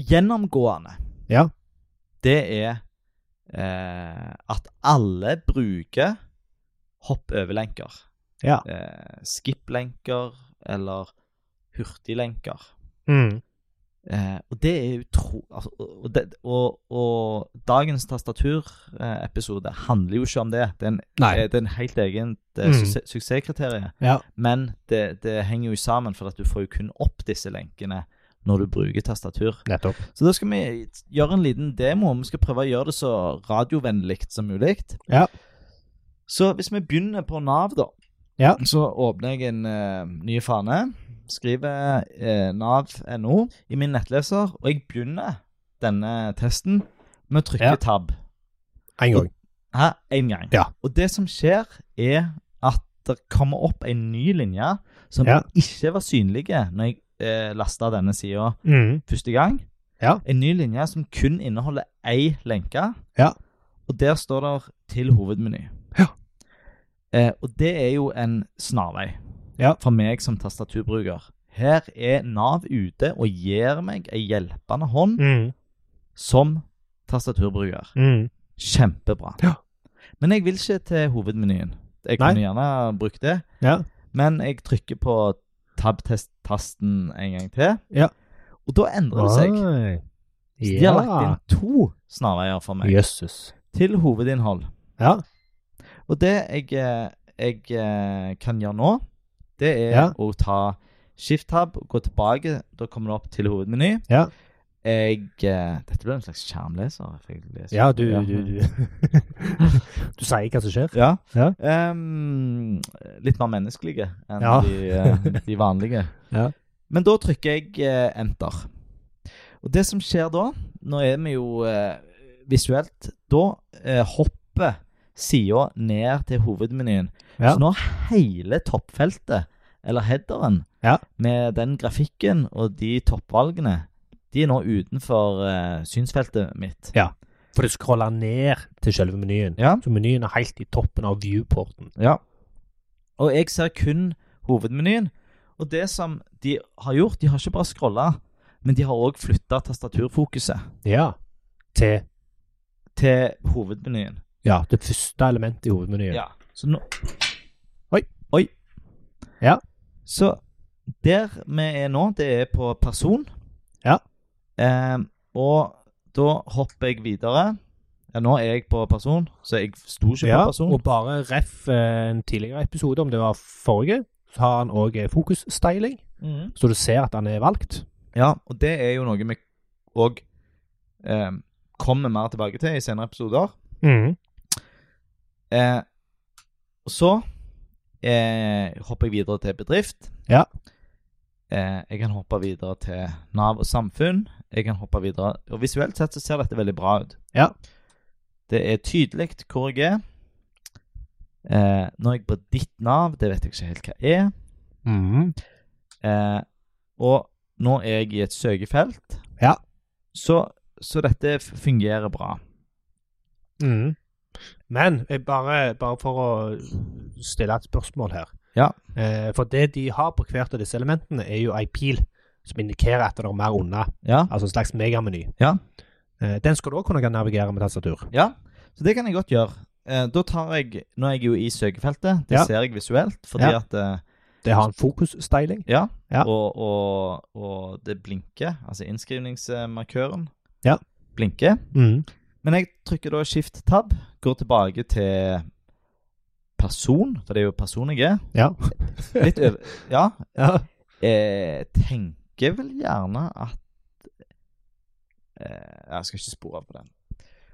S1: gjennomgående,
S2: Ja.
S1: det er eh, at alle bruker hopp-over-lenker.
S2: Ja.
S1: Eh, Skip-lenker eller hurtiglenker.
S2: Mm.
S1: Eh, og det er utro... Altså, og, og, det- og, og dagens tastaturepisode handler jo ikke om det. Det er en
S2: Nei.
S1: det er en helt egen eh,
S2: Mm.
S1: suksess- suksesskriterium.
S2: Ja.
S1: Men det, det henger jo sammen, for at du får jo kun opp disse lenkene når du bruker tastatur.
S2: Nettopp.
S1: Så da skal vi gjøre en liten demo. Vi skal prøve å gjøre det så radiovennlig som mulig.
S2: Ja.
S1: Så hvis vi begynner på Nav, da,
S2: Ja.
S1: så åpner jeg en eh, ny fane. Skriver eh, nav.no i min nettleser, og jeg begynner denne testen med å trykke
S2: Ja.
S1: tab.
S2: En gang.
S1: Hæ? En gang.
S2: Ja.
S1: Og det som skjer, er at det kommer opp en ny linje som
S2: Ja.
S1: ikke var synlig når jeg eh, lasta denne sida
S2: Mm,
S1: første gang.
S2: Ja.
S1: En ny linje som kun inneholder én lenke.
S2: Ja.
S1: Og der står det 'til hovedmeny'.
S2: Ja.
S1: Eh, og det er jo en snarvei
S2: Ja.
S1: for meg som tastaturbruker. Her er Nav ute og gir meg ei hjelpende
S2: Mm.
S1: hånd som tastaturbruker. Kjempebra.
S2: Ja.
S1: Men jeg vil ikke til hovedmenyen. Jeg
S2: Nei.
S1: kunne gjerne brukt det,
S2: Ja.
S1: men jeg trykker på tab-test-tasten en gang til.
S2: Ja. Ah.
S1: Og da endrer det seg.
S2: Oi.
S1: Så de har lagt
S2: Ja.
S1: inn to snarveier for meg
S2: Jøsses.
S1: til hovedinnhold.
S2: Ja.
S1: Og det jeg, eh, jeg eh, kan gjøre nå, det er
S2: Ja.
S1: å ta skift-tab, gå tilbake, da kommer det opp til hovedmeny.
S2: Ja.
S1: Jeg eh, Dette blir en slags skjermleser. for jeg leser-
S2: Ja, du Du, du. du sier hva som skjer?
S1: Ja.
S2: Ja.
S1: Ehm, litt mer menneskelige enn
S2: Ja.
S1: de, eh, de vanlige.
S2: Ja.
S1: Men da trykker jeg eh, enter. Og det som skjer da Nå er vi jo eh, visuelt Da eh, hopper sida ned til hovedmenyen.
S2: Ja.
S1: Så nå er hele toppfeltet, eller headeren,
S2: Ja.
S1: med den grafikken og de toppvalgene, de er nå utenfor eh, synsfeltet mitt.
S2: For det scroller ned til selve menyen.
S1: Ja.
S2: Så menyen er helt i toppen av viewporten.
S1: Ja. Og jeg ser kun hovedmenyen. Og det som de har gjort, de har ikke bare scrolla, men de har òg flytta tastaturfokuset
S2: Ja. Til
S1: til hovedmenyen.
S2: ja, det første elementet i hovedmenyen.
S1: Ja. Så nå
S2: Oi.
S1: Oi.
S2: Ja.
S1: Så der vi er nå, det er på person.
S2: Ja.
S1: Eh, og da hopper jeg videre. Ja, nå er jeg på person, så jeg sto ikke
S2: Ja,
S1: på person.
S2: og bare ref eh, en tidligere episode, om det var forrige, så har han òg fokusstyling,
S1: Mhm.
S2: så du ser at han er valgt.
S1: Ja, og det er jo noe vi òg eh, kommer mer tilbake til i senere episoder. Eh, og så eh, hopper jeg videre til bedrift.
S2: Ja.
S1: Eh, jeg kan hoppe videre til Nav og samfunn. Jeg kan hoppe videre, og Visuelt sett så ser dette veldig bra ut.
S2: Ja.
S1: Det er tydelig hvor jeg er. Eh, nå er jeg på ditt Nav, det vet jeg ikke helt hva er. Mm. Eh, og nå er jeg i et søkefelt.
S2: Ja.
S1: Så, så dette f- fungerer bra.
S2: Mhm. Men jeg bare, bare for å stille et spørsmål her.
S1: Ja.
S2: Eh, for det de har på hvert av disse elementene, er jo ei pil som indikerer at det er mer unna.
S1: Ja.
S2: Altså en slags megameny.
S1: Ja.
S2: Eh, Den skal du òg kunne navigere med tastatur.
S1: ja. Så det kan jeg godt gjøre. Eh, da tar jeg Nå er jeg jo i søkefeltet. Det
S2: Ja.
S1: ser jeg visuelt, fordi
S2: Ja.
S1: at eh,
S2: Det har en fokusstyling.
S1: Ja.
S2: Ja.
S1: Og, og, og det blinker. Altså innskrivningsmarkøren
S2: Ja.
S1: blinker.
S2: Mm.
S1: Men jeg trykker da skift tab, går tilbake til person, for det er jo person jeg er.
S2: Ja.
S1: Litt over Ja.
S2: ja.
S1: Jeg Eh, tenker vel gjerne at eh, Jeg skal ikke spore av på den.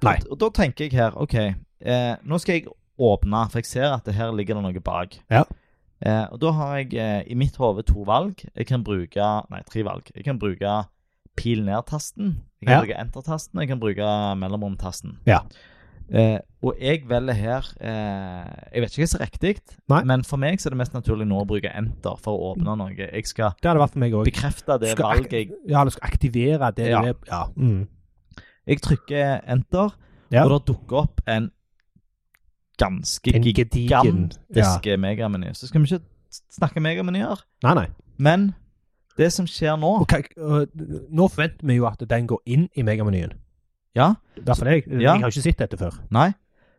S2: Nei.
S1: Og, og da tenker jeg her OK, eh, nå skal jeg åpne, for jeg ser at det her ligger det noe bak.
S2: Ja.
S1: Eh, og da har jeg eh, i mitt hode to valg. Jeg kan bruke Nei, tre valg. Jeg kan bruke pil ned-tasten. Jeg kan
S2: Ja.
S1: bruke enter-tasten. Jeg kan bruke mellomrom-tasten.
S2: Ja.
S1: Eh, og jeg velger her eh, Jeg vet ikke hva som er riktig,
S2: Nei. Mm.
S1: men for meg så er det mest naturlig nå å bruke enter for å åpne noe. Jeg skal
S2: Det har det vært for meg òg.
S1: bekrefte det valget jeg
S2: Ja, du skal aktivere det
S1: Ja.
S2: du er ja. Mm.
S1: Jeg trykker enter,
S2: Ja.
S1: og det dukker opp en ganske
S2: En gedigen ja.
S1: gigantisk megameny. Så skal vi ikke snakke megamenyer,
S2: Nei, nei.
S1: men det som skjer nå
S2: Og hva- og øh, nå forventer vi jo at den går inn i megamenyen.
S1: Ja,
S2: Derfor jeg, øh,
S1: Ja. Mm.
S2: jeg har ikke sett dette før.
S1: nei.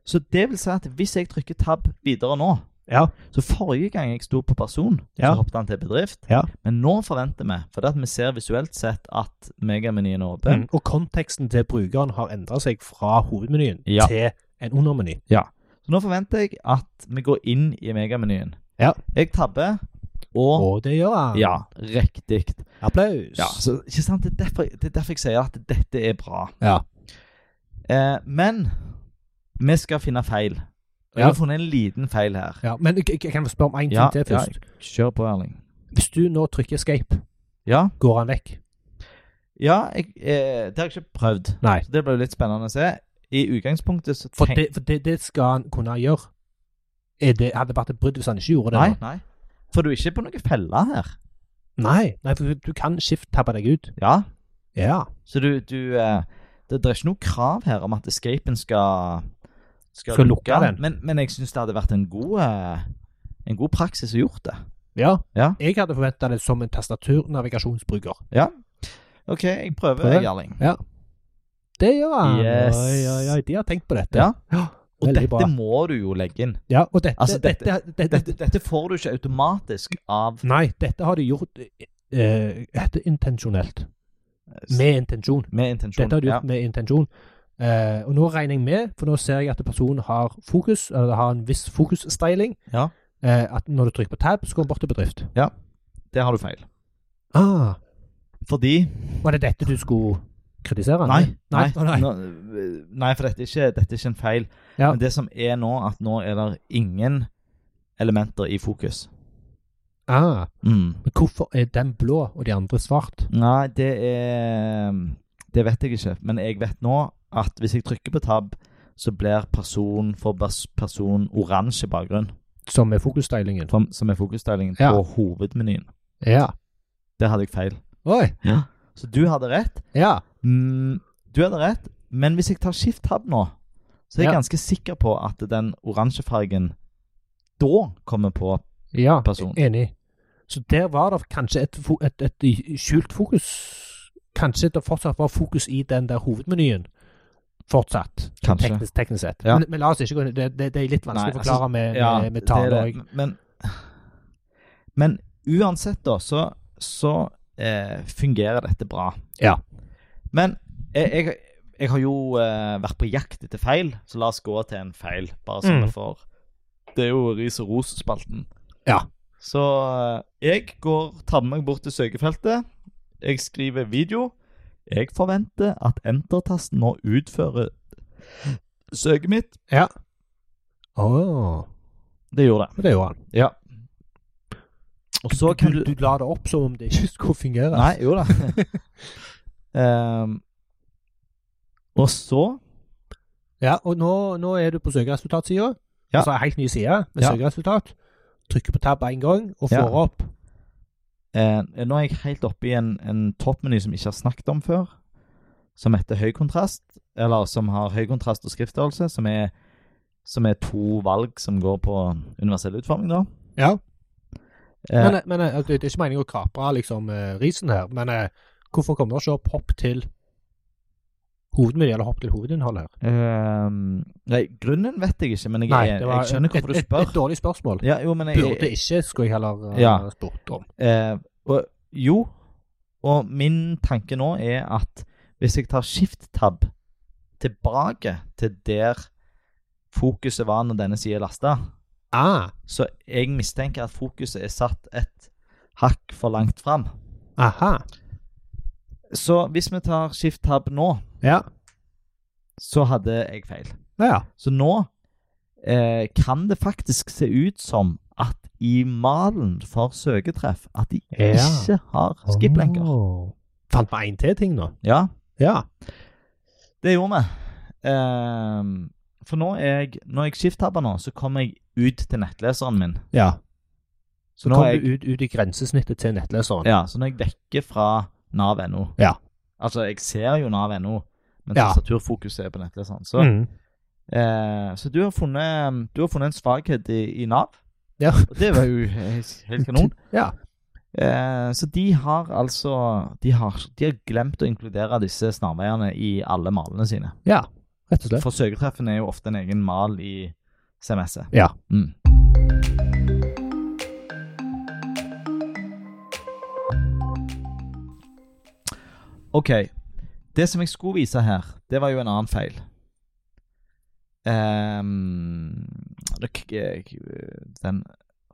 S1: Så det vil si at hvis jeg trykker tab videre nå
S2: Ja.
S1: Så forrige gang jeg sto på person,
S2: Ja.
S1: så hoppet han til bedrift.
S2: Ja.
S1: Men nå forventer vi, for det at vi ser visuelt sett at megamenyen er åpen.
S2: Mm. Og konteksten til brukeren har endra seg fra hovedmenyen
S1: Ja.
S2: til en undermeny.
S1: Så nå forventer jeg at vi går inn i megamenyen.
S2: Ja.
S1: Jeg tabber, og
S2: Og det gjør han.
S1: Ja, riktig.
S2: Applaus.
S1: Ja, så, ikke sant? Det, er derfor, det er derfor jeg sier at dette er bra.
S2: Ja.
S1: Eh, men vi skal finne feil. Jeg
S2: Ja.
S1: har funnet en liten feil her.
S2: Ja, men jeg, jeg kan få spørre om én ting
S1: Ja,
S2: til
S1: ja.
S2: først.
S1: Kjør på, Erling.
S2: Hvis du nå trykker escape,
S1: Ja,
S2: går han vekk?
S1: ja jeg, eh, det har jeg ikke prøvd.
S2: Nei.
S1: Så det ble jo litt spennende å se. I utgangspunktet så
S2: For,
S1: tenk-
S2: det, for det, det skal han kunne gjøre. Er det, hadde det vært et brudd hvis han ikke gjorde det?
S1: Nei,
S2: da?
S1: nei. For du er ikke på noen felle her.
S2: Nei, nei, for du kan skift-tabbe deg ut.
S1: Ja.
S2: Ja.
S1: Så du, du eh, det, det er ikke noe krav her om at escapen skal
S2: Skal lukke den.
S1: Men, men jeg syns det hadde vært en god, eh, en god praksis å gjort det.
S2: ja.
S1: Ja.
S2: Jeg hadde forventa det som en tastaturnavigasjonsbruker.
S1: OK, jeg prøver,
S2: Prøv.
S1: jeg, Erling.
S2: Det gjør han.
S1: Yes.
S2: Oi, oi, oi. De har tenkt på dette.
S1: Ja. Og
S2: Veldig
S1: dette
S2: bra.
S1: må du jo legge inn.
S2: Ja, og dette,
S1: Altså, dette-
S2: dette, dette,
S1: Dette, dette får du ikke automatisk av
S2: Nei, dette har de gjort eh, dette er intensjonelt.
S1: med,
S2: Med intensjon.
S1: intensjon.
S2: Dette har de
S1: ja.
S2: gjort med intensjon. Eh, og nå regner jeg med, for nå ser jeg at personen har fokus, eller har en viss fokusstyling.
S1: Ja.
S2: Eh, at når du trykker på tab, så går den bort til bedrift.
S1: Det har du feil.
S2: Ah,
S1: Fordi
S2: var det dette du skulle kritisere?
S1: Nei.
S2: Nei. Å, nei.
S1: Nå, øh, nei for dette er ikke, dette er ikke en feil.
S2: Ja.
S1: Men det som er nå, at nå er det ingen elementer i fokus.
S2: Ah,
S1: Mm.
S2: men hvorfor er den blå og de andre svart?
S1: Nei, det er Det vet jeg ikke. Men jeg vet nå at hvis jeg trykker på tab, så blir person for bas- person oransje bakgrunn,
S2: Som er fokussstylingen?
S1: for, som er fokusstylingen
S2: Ja.
S1: på hovedmenyen.
S2: Ja.
S1: Der hadde jeg feil.
S2: Oi.
S1: Så du hadde rett.
S2: Ja.
S1: Mm, du hadde rett, men hvis jeg tar skift tab nå, så er jeg
S2: Ja.
S1: ganske sikker på at den oransje fargen da kommer på
S2: Ja.
S1: person.
S2: Enig. Så der var det kanskje et, fo- et, et skjult fokus. Kanskje det fortsatt var fokus i den der hovedmenyen. Fortsatt.
S1: Kanskje.
S2: Teknisk, teknisk sett.
S1: Ja.
S2: Men, men la oss ikke gå inn det, det, det er litt vanskelig
S1: Nei, altså,
S2: å forklare med, med, med tall
S1: det er
S2: og
S1: det. Men, men uansett, da, så, så eh, fungerer dette bra.
S2: Ja.
S1: Men jeg, jeg, jeg har jo eh, vært på jakt etter feil, så la oss gå til en feil, bare så
S2: Mm.
S1: vi får Det er jo ris og ros-spalten.
S2: Ja.
S1: Så eh, jeg går, tar med meg bort til søkefeltet. Jeg skriver video. Jeg forventer at enter-tasten nå utfører søket mitt.
S2: Åh,
S1: Det gjorde det.
S2: Det gjorde han.
S1: Ja. Og så kan du
S2: du, la det opp som om det ikke skulle fungere.
S1: Nei, jo da. Ehm, og så
S2: Ja, og nå, nå er du på søkeresultatsida.
S1: Ja.
S2: Altså en helt ny side med
S1: Ja.
S2: søkeresultat. Trykker på tab én gang og får
S1: Ja.
S2: opp.
S1: eh, Nå er jeg helt oppe i en, en toppmeny som jeg ikke har snakket om før, som heter høy kontrast. Eller som har høy kontrast og skriftstørrelse, som er, som er to valg som går på universell utforming, da.
S2: Ja.
S1: Eh,
S2: Men, eh, men eh, det, det er ikke meningen å kapre liksom, eh, risen her, men eh, hvorfor kommer det ikke opp hopp til hovedmiljøet, eller hopp til hovedinnholdet her?
S1: ehm, nei, grunnen vet jeg ikke, men jeg, er- jeg skjønner hvorfor
S2: et,
S1: du spør.
S2: Et, et dårlig spørsmål.
S1: ja, jo, men jeg,
S2: Burde ikke, skulle jeg heller eh,
S1: Ja.
S2: spurt om.
S1: Eh, og, jo, og min tanke nå er at hvis jeg tar shift-tab tilbake til der fokuset var når denne sida lasta,
S2: Ah,
S1: så jeg mistenker at fokuset er satt et hakk for langt fram.
S2: aha.
S1: Så hvis vi tar shift-tab nå,
S2: Ja,
S1: så hadde jeg feil.
S2: ja.
S1: Så nå eh, kan det faktisk se ut som at i malen for søketreff at de
S2: Ja. Oh.
S1: ikke har skip-lenker.
S2: Åh. Fant vi en til ting nå?
S1: Ja.
S2: Ja.
S1: Det gjorde vi. Ehm, for nå er jeg, når jeg skifttabber nå, så kommer jeg ut til nettleseren min.
S2: ja.
S1: Så
S2: Nå
S1: når
S2: kom
S1: jeg,
S2: du ut, ut i grensesnittet til nettleseren.
S1: ja, så når jeg vekker fra nav.no
S2: Ja.
S1: Altså, jeg ser jo nav.no, men
S2: Ja.
S1: tastaturfokuset er på nettleseren. Så,
S2: Mm.
S1: eh, så du, har funnet, du har funnet en svakhet i, i Nav.
S2: Ja.
S1: Og det var jo helt helt kanon.
S2: Ja.
S1: Eh, så de har altså de har, de har glemt å inkludere disse snarveiene i alle malene sine.
S2: ja, rett og slett.
S1: For søketreffen er jo ofte en egen mal i CMS-et.
S2: Ja.
S1: Mm. OK. Det som jeg skulle vise her, det var jo en annen feil. Ehm, det k- k- den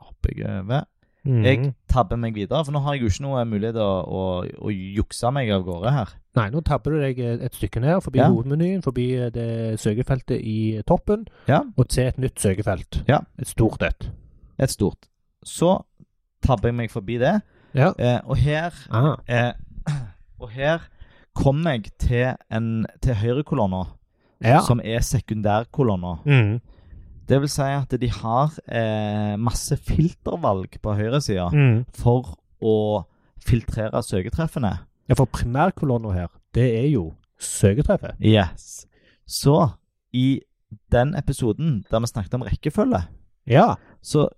S1: hopper jeg over.
S2: Mm.
S1: Jeg tabber meg videre, for nå har jeg jo ikke noe mulighet å, å, å jukse meg av gårde her.
S2: Nei, nå tabber du deg et stykke ned, forbi
S1: Ja.
S2: hovedmenyen, forbi eh, det søkefeltet i toppen,
S1: Ja.
S2: og til et nytt søkefelt.
S1: Ja.
S2: Et stort et.
S1: Et stort. Så tabber jeg meg forbi det,
S2: Ja.
S1: eh, og her
S2: Ah.
S1: Eh, og her kommer jeg til, en- til høyrekolonna,
S2: Ja.
S1: som er sekundærkolonna.
S2: Mm.
S1: Det vil si at de har eh, masse filtervalg på høyresida
S2: Mm.
S1: for å filtrere søketreffene.
S2: ja, for primærkolonna her, det er jo søketreffet.
S1: Yes. Så i den episoden der vi snakket om rekkefølge,
S2: Ja.
S1: så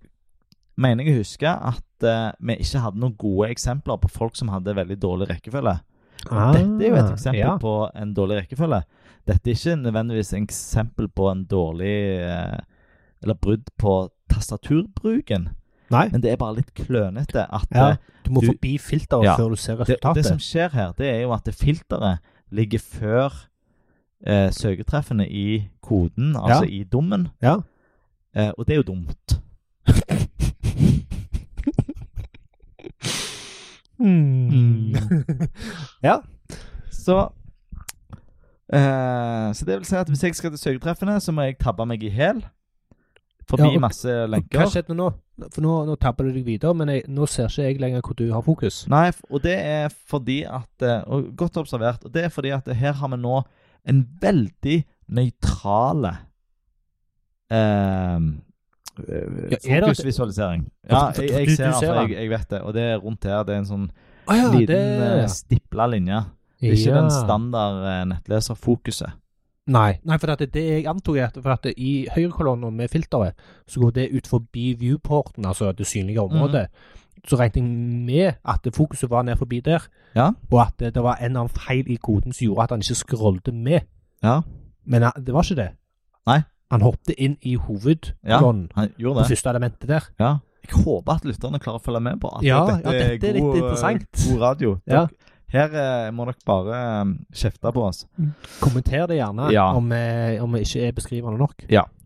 S1: mener jeg å huske at eh, vi ikke hadde noen gode eksempler på folk som hadde veldig dårlig rekkefølge.
S2: Ah.
S1: Dette er jo et eksempel
S2: Ja.
S1: på en dårlig rekkefølge. Dette er ikke nødvendigvis et eksempel på en dårlig eh, Eller brudd på tastaturbruken,
S2: Nei,
S1: men det er bare litt klønete at
S2: Ja,
S1: eh,
S2: du må
S1: du-
S2: forbi filteret
S1: Ja.
S2: før du ser
S1: det, sånn- det
S2: resultatet.
S1: som skjer her, det er jo at det filteret ligger før eh, søketreffene i koden, altså i dommen.
S2: Ja.
S1: Eh, og det er jo dumt.
S2: Mm.
S1: Så eh, Så det vil si at hvis jeg skal til søketreffene, så må jeg tabbe meg i hæl. Forbi
S2: Ja, og-
S1: masse
S2: Hva
S1: lenker.
S2: skjedde nå? For nå, nå tabber du deg videre, men jeg, nå ser ikke jeg lenger hvor du har fokus.
S1: Nei, f- og det er fordi at eh, og Godt observert. Og det er fordi at her har vi nå en veldig nøytrale eh,
S2: Ja, er det-
S1: fokusvisualisering.
S2: Ja,
S1: Ja,
S2: for- for-
S1: jeg,
S2: du-
S1: jeg ser
S2: du
S1: den,
S2: ser
S1: for
S2: den.
S1: jeg, jeg vet det. Og det er rundt her. Det er en sånn
S2: Å ja,
S1: liten det... stipla linje. Det er ikke
S2: eh, Ja.
S1: den standard eh, nettleserfokuset.
S2: Nei, Nei for at det, det jeg antok er at, for at det, i høyrekolonnen med filteret, så går det ut forbi viewporten, altså det synlige
S1: Mm.
S2: området. Så regnet jeg med at det fokuset var ned forbi der,
S1: Ja.
S2: og at det, det var en eller annen feil i koden som gjorde at han ikke scrollet med.
S1: Ja,
S2: Men han- det var ikke det.
S1: Nei.
S2: Han hoppet inn i hovedkolonnen,
S1: han
S2: på
S1: gjorde det.
S2: første elementet der.
S1: Ja. Jeg håper at lytterne klarer å følge med på at
S2: Ja,
S1: dette,
S2: ja, dette er litt
S1: god, eh,
S2: interessant.
S1: god radio.
S2: Ja.
S1: Her eh, må dere bare eh, kjefte på oss.
S2: Kommenter det gjerne
S1: Ja.
S2: om, eh, om vi ikke er beskrivende nok.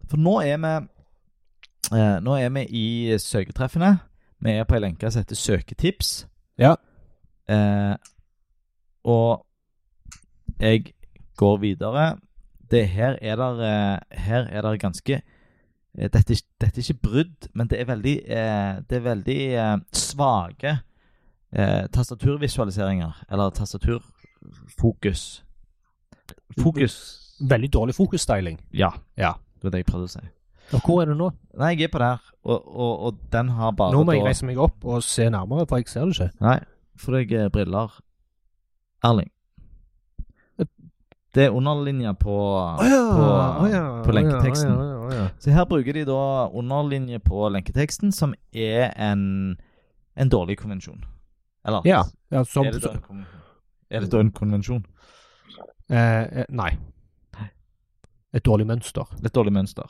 S1: For nå er vi eh, Nå er vi i søketreffene. Vi er på ei lenke som heter Søketips.
S2: Ja.
S1: Eh, og jeg går videre. Det her er der eh, Her er der ganske eh, dette, er- dette er ikke brudd, men det er veldig eh, Det er veldig eh, svake eh, tastaturvisualiseringer. Eller tastaturfokus. Fokus.
S2: Veldig dårlig fokusstyling.
S1: Ja.
S2: Ja.
S1: Det var det jeg prøvde å si.
S2: Og hvor er du nå?
S1: Nei, jeg er på der, og, og, og den har bare
S2: Nå må jeg
S1: da-
S2: reise meg opp og se nærmere, for jeg ser det ikke.
S1: Nei, for jeg er briller. Erling. Det er underlinja på på- på lenketeksten.
S2: Å ja, å ja, å ja.
S1: Så her bruker de da underlinje på lenketeksten, som er en en dårlig konvensjon. Eller
S2: Ja. ja som,
S1: er, det da en konvensjon? er det da en konvensjon?
S2: eh, eh, nei. Et dårlig mønster.
S1: Et dårlig mønster.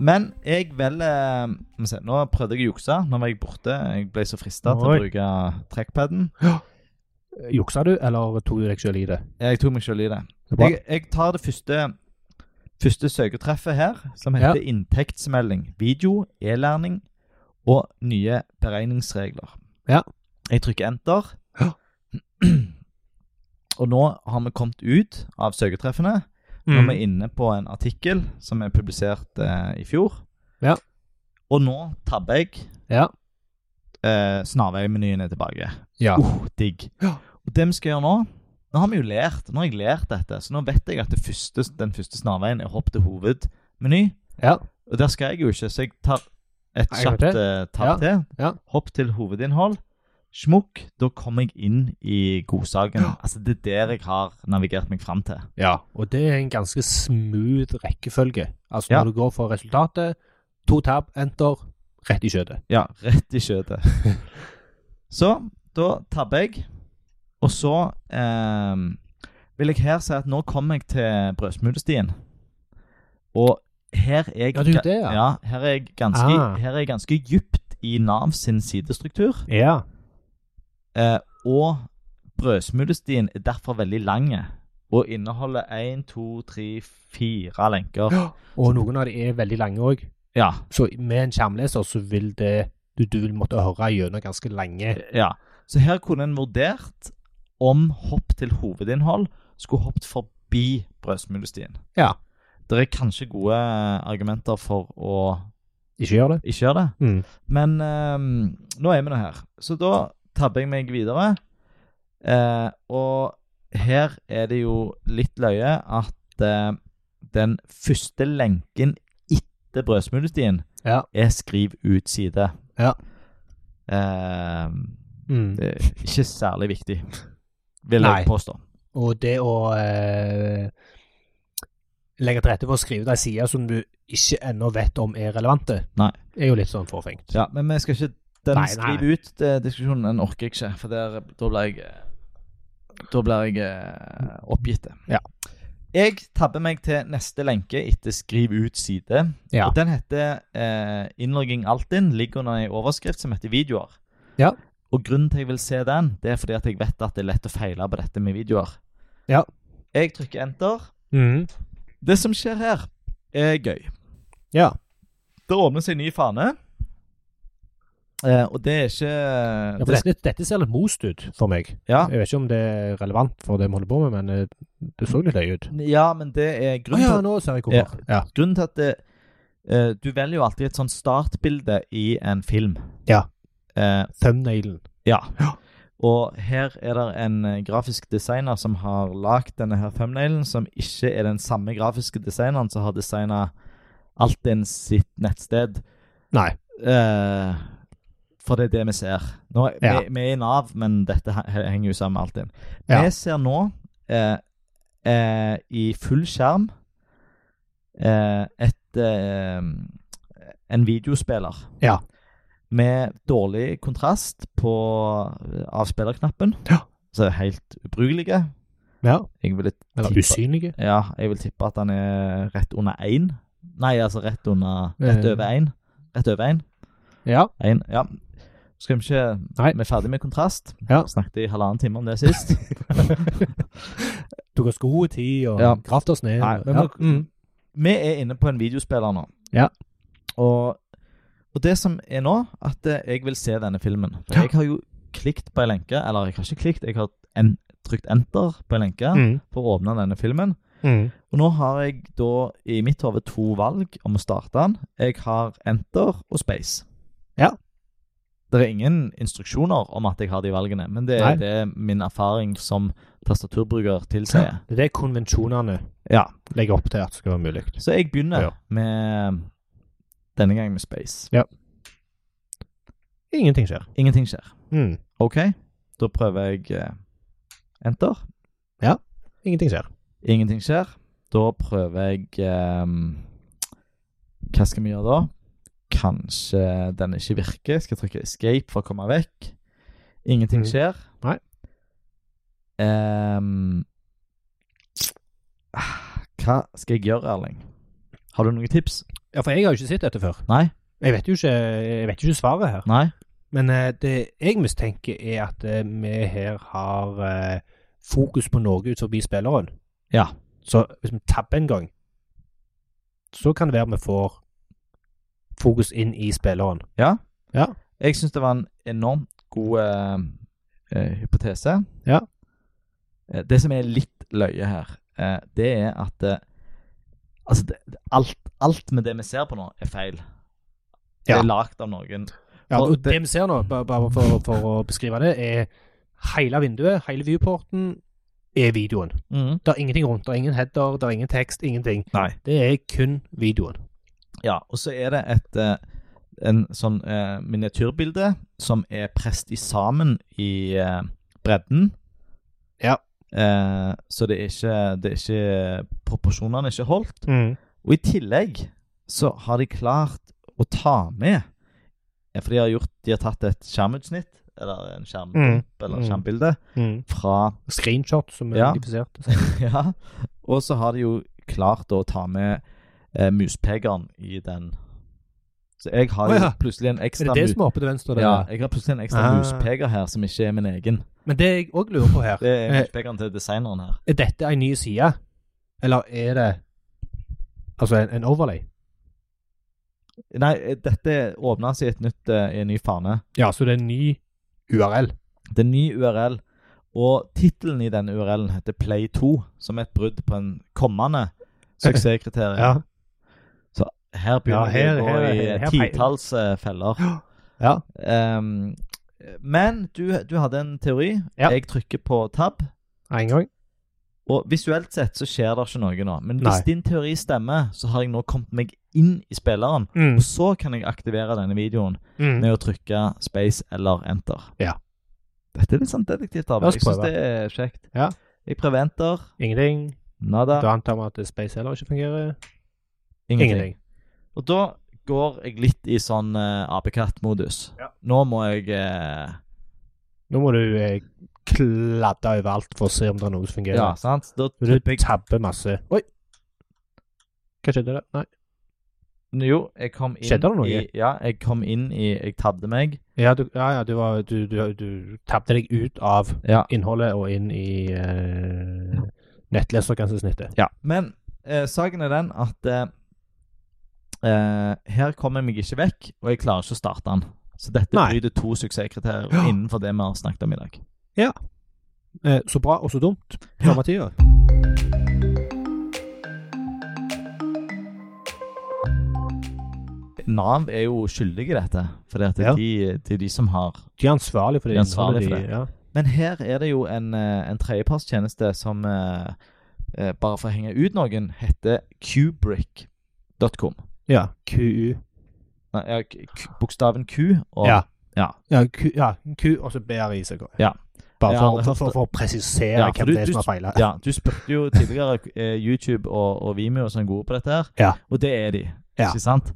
S1: Men jeg velger eh, må vi se, Nå prøvde jeg å jukse. Nå var jeg borte. Jeg ble så frista til å
S2: Oi.
S1: bruke trackpaden.
S2: Eh, Juksa du, eller tok du deg selv i det?
S1: Jeg tok meg sjøl i det.
S2: Det er bra.
S1: Jeg, jeg tar det første, første søketreffet her, som heter
S2: Ja.
S1: inntektsmelding, video, e-læring og nye beregningsregler.
S2: Ja.
S1: Jeg trykker enter.
S2: Ja.
S1: Og nå har vi kommet ut av søketreffene. Nå
S2: Mm.
S1: er vi inne på en artikkel som er publisert eh, i fjor.
S2: Ja.
S1: Og nå tabber jeg
S2: Ja.
S1: eh, snarveimenyen er tilbake.
S2: ja.
S1: Uh, digg.
S2: Ja.
S1: Og det vi skal gjøre nå Nå har vi jo lært, nå har jeg lært dette, så nå vet jeg at det første, den første snarveien er hopp til hovedmeny.
S2: Ja.
S1: Og der skal jeg jo ikke, så jeg tar et
S2: En gang
S1: kjapt
S2: til.
S1: eh, tall
S2: Ja.
S1: til.
S2: Ja.
S1: Hopp til hovedinnhold. Smukk. Da kommer jeg inn i godsaken. Altså, det er der jeg har navigert meg fram til.
S2: Ja, og det er en ganske smooth rekkefølge. Altså
S1: Ja.
S2: når du går for resultatet, to tab, enter, rett i skjøtet.
S1: Ja, rett i skjøtet. så da tabber jeg. Og så eh, vil jeg her si at nå kommer jeg til brødsmulestien. Og her er jeg
S2: Ja, du gjør det, ja.
S1: ja, her er jeg ganske,
S2: Ah.
S1: her er jeg ganske dypt i Nav sin sidestruktur.
S2: Ja.
S1: Eh, og brødsmulestien er derfor veldig lang. eh, Og inneholder én, to, tre, fire lenker.
S2: Og noen av de er veldig lange òg.
S1: Ja.
S2: Så med en skjermleser så vil det du, du vil måtte høre gjennom ganske lenge.
S1: Ja, så her kunne en vurdert om hopp til hovedinnhold skulle hoppet forbi brødsmulestien.
S2: Ja.
S1: Det er kanskje gode eh, argumenter for å
S2: Ikke gjør det?
S1: ikke gjøre det,
S2: Mm.
S1: men ehm, nå er vi nå her. Så da tabber jeg meg videre, eh, og her er det jo litt løye at eh, den første lenken etter brødsmulestien
S2: Ja.
S1: er skriv ut side.
S2: Ja.
S1: Ehm,
S2: Mm.
S1: det er ikke særlig viktig, vil
S2: Nei.
S1: jeg påstå.
S2: Og det å eh, legge til rette for å skrive deg sider som du ikke ennå vet om er relevante,
S1: Nei.
S2: er jo litt sånn forfengt.
S1: Ja, men vi skal ikke den
S2: Nei, nei.
S1: skrive ut det, diskusjonen. Den orker jeg ikke, for der, da blir jeg Da blir jeg eh, oppgitt.
S2: Ja.
S1: Jeg tabber meg til neste lenke etter 'skriv ut side'.
S2: Ja.
S1: Og Den heter eh, 'Innlogging Altinn'. Ligger under ei overskrift som heter 'Videoer'.
S2: Ja.
S1: Og grunnen til jeg vil se den, det er fordi at jeg vet at det er lett å feile på dette med videoer.
S2: Ja.
S1: Jeg trykker enter.
S2: Mm.
S1: Det som skjer her, er gøy.
S2: Ja.
S1: Det åpner seg en ny fane. Eh, og det er ikke
S2: Ja, for dette, dette ser litt most ut for meg.
S1: ja.
S2: Jeg vet ikke om det er relevant for det vi holder på med, men eh, det så litt løye ut.
S1: ja, men det er
S2: Å
S1: grunnen,
S2: ja,
S1: til,
S2: nå ser jeg hvorfor. Ja.
S1: at, grunnen til at det, eh, Du velger jo alltid et sånt startbilde i en film.
S2: Ja.
S1: Eh,
S2: Thumbnailen.
S1: ja. Og her er det en eh, grafisk designer som har lagd denne her thumbnailen, som ikke er den samme grafiske designeren som har designa Altinn sitt nettsted.
S2: Nei.
S1: Eh, for det er det vi ser. Nå, er-
S2: Ja.
S1: vi, vi er i Nav, men dette he- henger jo sammen med alt inn. Vi
S2: Ja.
S1: ser nå eh, eh, i full skjerm eh, et eh, en videospiller.
S2: Ja.
S1: Med dårlig kontrast på, eh, av spillerknappen.
S2: Ja.
S1: Så helt ubrukelige.
S2: Ja.
S1: Jeg ville
S2: Eller
S1: tippe-
S2: usynlige.
S1: ja, jeg vil tippe at han er rett under én. Nei, altså rett under Rett
S2: Eh.
S1: over én. Rett over én.
S2: Ja.
S1: Én, ja. Skal vi ikke
S2: Nei.
S1: Vi er ferdig med kontrast.
S2: Ja.
S1: Snakket i halvannen time om det sist.
S2: Tok oss god tid og
S1: Ja.
S2: gravd oss ned.
S1: Nei,
S2: og-
S1: men
S2: ja.
S1: nå- mm. vi er inne på en videospiller nå.
S2: Ja.
S1: Og, og det som er nå, at eh, jeg vil se denne filmen. For
S2: Ja.
S1: jeg har jo klikt på ei lenke, eller jeg har ikke klikt, jeg har en, trykt enter på ei lenke
S2: Mm.
S1: for å åpne denne filmen. Og nå har jeg da i mitt hode to valg om å starte den. Jeg har enter og space.
S2: Ja.
S1: Det er ingen instruksjoner om at jeg har de valgene, men det er
S2: Nei.
S1: det min erfaring som tastaturbruker tilsier.
S2: Det er det konvensjonene
S1: Ja.
S2: legger opp til at skal være mulig.
S1: Så jeg begynner
S2: Ja.
S1: med denne gang med space.
S2: Ingenting skjer.
S1: Ingenting skjer.
S2: Mm.
S1: OK, da prøver jeg eh, enter.
S2: Ingenting skjer.
S1: Ingenting skjer. Da prøver jeg eh, Hva skal vi gjøre da? Kanskje den ikke virker. Skal trykke escape for å komme vekk. Ingenting
S2: Mhm.
S1: skjer.
S2: Nei.
S1: Ehm, ah, hva skal jeg gjøre, Erling? Har du noen tips?
S2: Ja, for jeg har jo ikke sett dette før.
S1: Nei?
S2: Jeg vet jo ikke, jeg vet jo ikke svaret her.
S1: Nei?
S2: Men eh, det jeg mistenker, er at eh, vi her har eh, fokus på Norge ut forbi spilleren.
S1: Ja.
S2: Så hvis vi tabber en gang, så kan det være vi får fokus inn i spilleren.
S1: Jeg syns det var en enormt god eh, eh, hypotese.
S2: Ja.
S1: Eh, Det som er litt løye her, eh, det er at eh, Altså, det, det- alt, alt med det vi ser på nå, er feil. Det
S2: Ja.
S1: er lagd av noen.
S2: Ja,
S1: Og
S2: og det vi ser nå, ba- bare for, for å beskrive det, er hele vinduet, hele viewporten, er videoen.
S1: Mhm.
S2: Det er ingenting rundt. Det er ingen header, det er ingen tekst, ingenting.
S1: Nei.
S2: Det er kun videoen.
S1: Ja, og så er det et eh, en sånn eh, miniatyrbilde som er prest i sammen i eh, bredden.
S2: Ja.
S1: Eh, så det er ikke, det er ikke eh, Proporsjonene er ikke holdt. Og i tillegg så har de klart å ta med eh, For de har, gjort, de har tatt et skjermutsnitt, eller en skjermdump, eller
S2: Mm.
S1: et skjermbilde, fra
S2: Screenshot, som er
S1: Ja.
S2: modifisert.
S1: Ja. Og så har de jo klart å ta med eh, muspekeren i den. Så jeg har
S2: Å,
S1: jo
S2: ja.
S1: plutselig en
S2: Er
S1: ekstra
S2: det det
S1: mu-
S2: som er oppe til venstre? der?
S1: ja, jeg har plutselig en ekstra
S2: Ah.
S1: muspeker her som ikke er min egen.
S2: Men det jeg òg lurer på her,
S1: Det er
S2: Eh.
S1: muspekeren til designeren her.
S2: er dette ei ny side? Eller er det altså en, en overlay?
S1: Nei, eh, dette åpna seg i et nytt, eh, i en ny fane.
S2: Ja, så det er en ny URL.
S1: Det er en ny URL, og tittelen i denne URL-en heter Play2, som er et brudd på en kommende suksesskriterium. Her
S2: Ja,
S1: begynner vi
S2: her-
S1: å gå
S2: her-
S1: i
S2: her- her
S1: eh,
S2: feil.
S1: titalls eh, feller.
S2: Ja.
S1: Ehm, men du, du hadde en teori.
S2: Ja.
S1: Jeg trykker på tab.
S2: En gang.
S1: Og visuelt sett så skjer det ikke noe nå. Men hvis
S2: Nei.
S1: din teori stemmer, så har jeg nå kommet meg inn i spilleren.
S2: Mm.
S1: Og så kan jeg aktivere denne videoen med å trykke space eller enter.
S2: Ja.
S1: Dette er litt sånn detektivt
S2: La
S1: arbeid.
S2: oss
S1: Jeg syns
S2: prøve.
S1: det er kjekt.
S2: Ja.
S1: Jeg prøver enter.
S2: Ingenting.
S1: Nada.
S2: Da antar vi at Space heller ikke fungerer.
S1: ingenting.
S2: Ingenting.
S1: Og da går jeg litt i sånn eh, apekatt-modus.
S2: Ja.
S1: Nå må jeg eh,
S2: Nå må du eh, kladde over alt for å se om det er noe som fungerer.
S1: Ja, sant? Da
S2: Du
S1: tipper jeg
S2: tabber masse. Oi! Hva skjedde der? Nei.
S1: Jo, jeg kom inn
S2: Skjedde det noe?
S1: I, ja, jeg kom inn i Jeg tabde meg.
S2: Ja, du, ja, ja, du, var- du, du, du tabbte deg ut av
S1: Ja.
S2: innholdet og inn i eh, nettlesergrensesnittet.
S1: Ja. Men eh, saken er den at eh, eh, her kommer jeg meg ikke vekk, og jeg klarer ikke å starte den. Så dette
S2: Nei.
S1: bryter to suksesskriterier
S2: Ja.
S1: innenfor det vi har snakket om i dag.
S2: Eh, så bra og så dumt. Samme tida.
S1: Nav er jo skyldig i dette, for det
S2: Ja.
S1: er de, det er de som har
S2: De er ansvarlige for det.
S1: De er ansvarlige
S2: innholdet de-
S1: Men her er det jo en, eh, en tredjepartstjeneste som, eh, eh, bare for å henge ut noen, heter kubrick.com.
S2: Ja. ja. QU.
S1: Nei, ja, k- k- bokstaven Q og
S2: Ja.
S1: ja.
S2: Ja, Q, ja, Q og så BRICK.
S1: Ja.
S2: Bare
S1: Ja,
S2: for,
S1: det-
S2: for, for, for å presisere
S1: Ja, for
S2: hvem
S1: du-
S2: det er
S1: du-
S2: som har feila.
S1: Ja, du spurte jo tidligere eh, YouTube og, og Vimeo som er gode på dette her,
S2: Ja.
S1: og det er de.
S2: Ja.
S1: Ikke sant?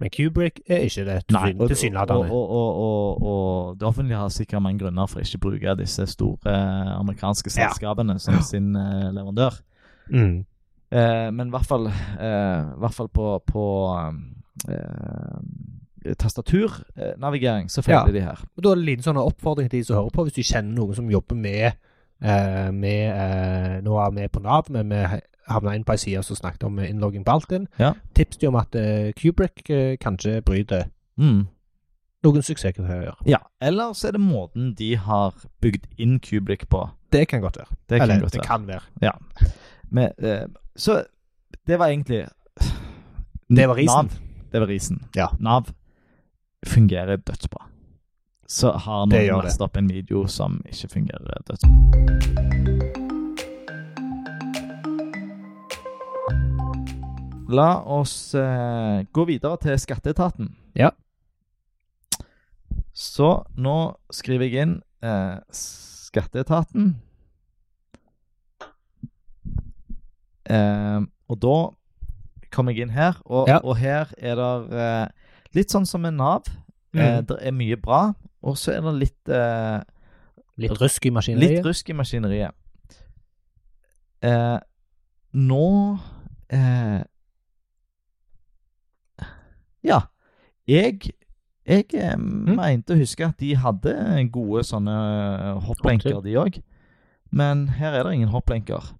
S2: Men Kubrick er ikke det, tilsyn-
S1: og, og,
S2: tilsynelatende.
S1: og, og, og, og det offentlige har sikkert mange grunner for ikke å bruke disse store eh, amerikanske
S2: Ja.
S1: selskapene som sin eh, leverandør.
S2: Mm.
S1: Eh, men i hvert fall, eh, i hvert fall på, på eh, Tastaturnavigering så feiler
S2: Ja.
S1: de her.
S2: Og Da er det en liten sånn oppfordring til de som hører på, hvis du kjenner noen som jobber med, eh, med eh, Nå er vi på Nav, men vi havna inn på ei side som snakket om eh, innlogging på Altinn.
S1: Ja.
S2: Tips til om at eh, Kubrick eh, kanskje bryter
S1: Mm.
S2: noen suksesskriterier.
S1: Ja, eller så er det måten de har bygd inn Kublikk på.
S2: Det kan godt være.
S1: Det kan
S2: Eller
S1: godt
S2: det
S1: være.
S2: kan være.
S1: Men, eh, så det var egentlig
S2: Det var risen.
S1: Nav, det var risen.
S2: Ja.
S1: Nav fungerer dødsbra. Så har
S2: Det
S1: noen
S2: gjør det.
S1: lest opp en video som ikke fungerer dødsbra. La oss eh, gå videre til Skatteetaten.
S2: Ja.
S1: Så nå skriver jeg inn eh, Skatteetaten. Eh, og Ehm, da kom jeg inn her, og,
S2: Ja.
S1: og her er det eh, litt sånn som med Nav. Eh, det er mye bra, og så er det litt, eh,
S2: Litt rusk i maskineriet.
S1: litt rusk i maskineriet. Eh, nå eh, Ja. Jeg, jeg eh,
S2: Mm.
S1: mente å huske at de hadde gode sånne eh, hopplenker,
S2: Hopptur.
S1: de òg. Men her er det ingen hopplenker.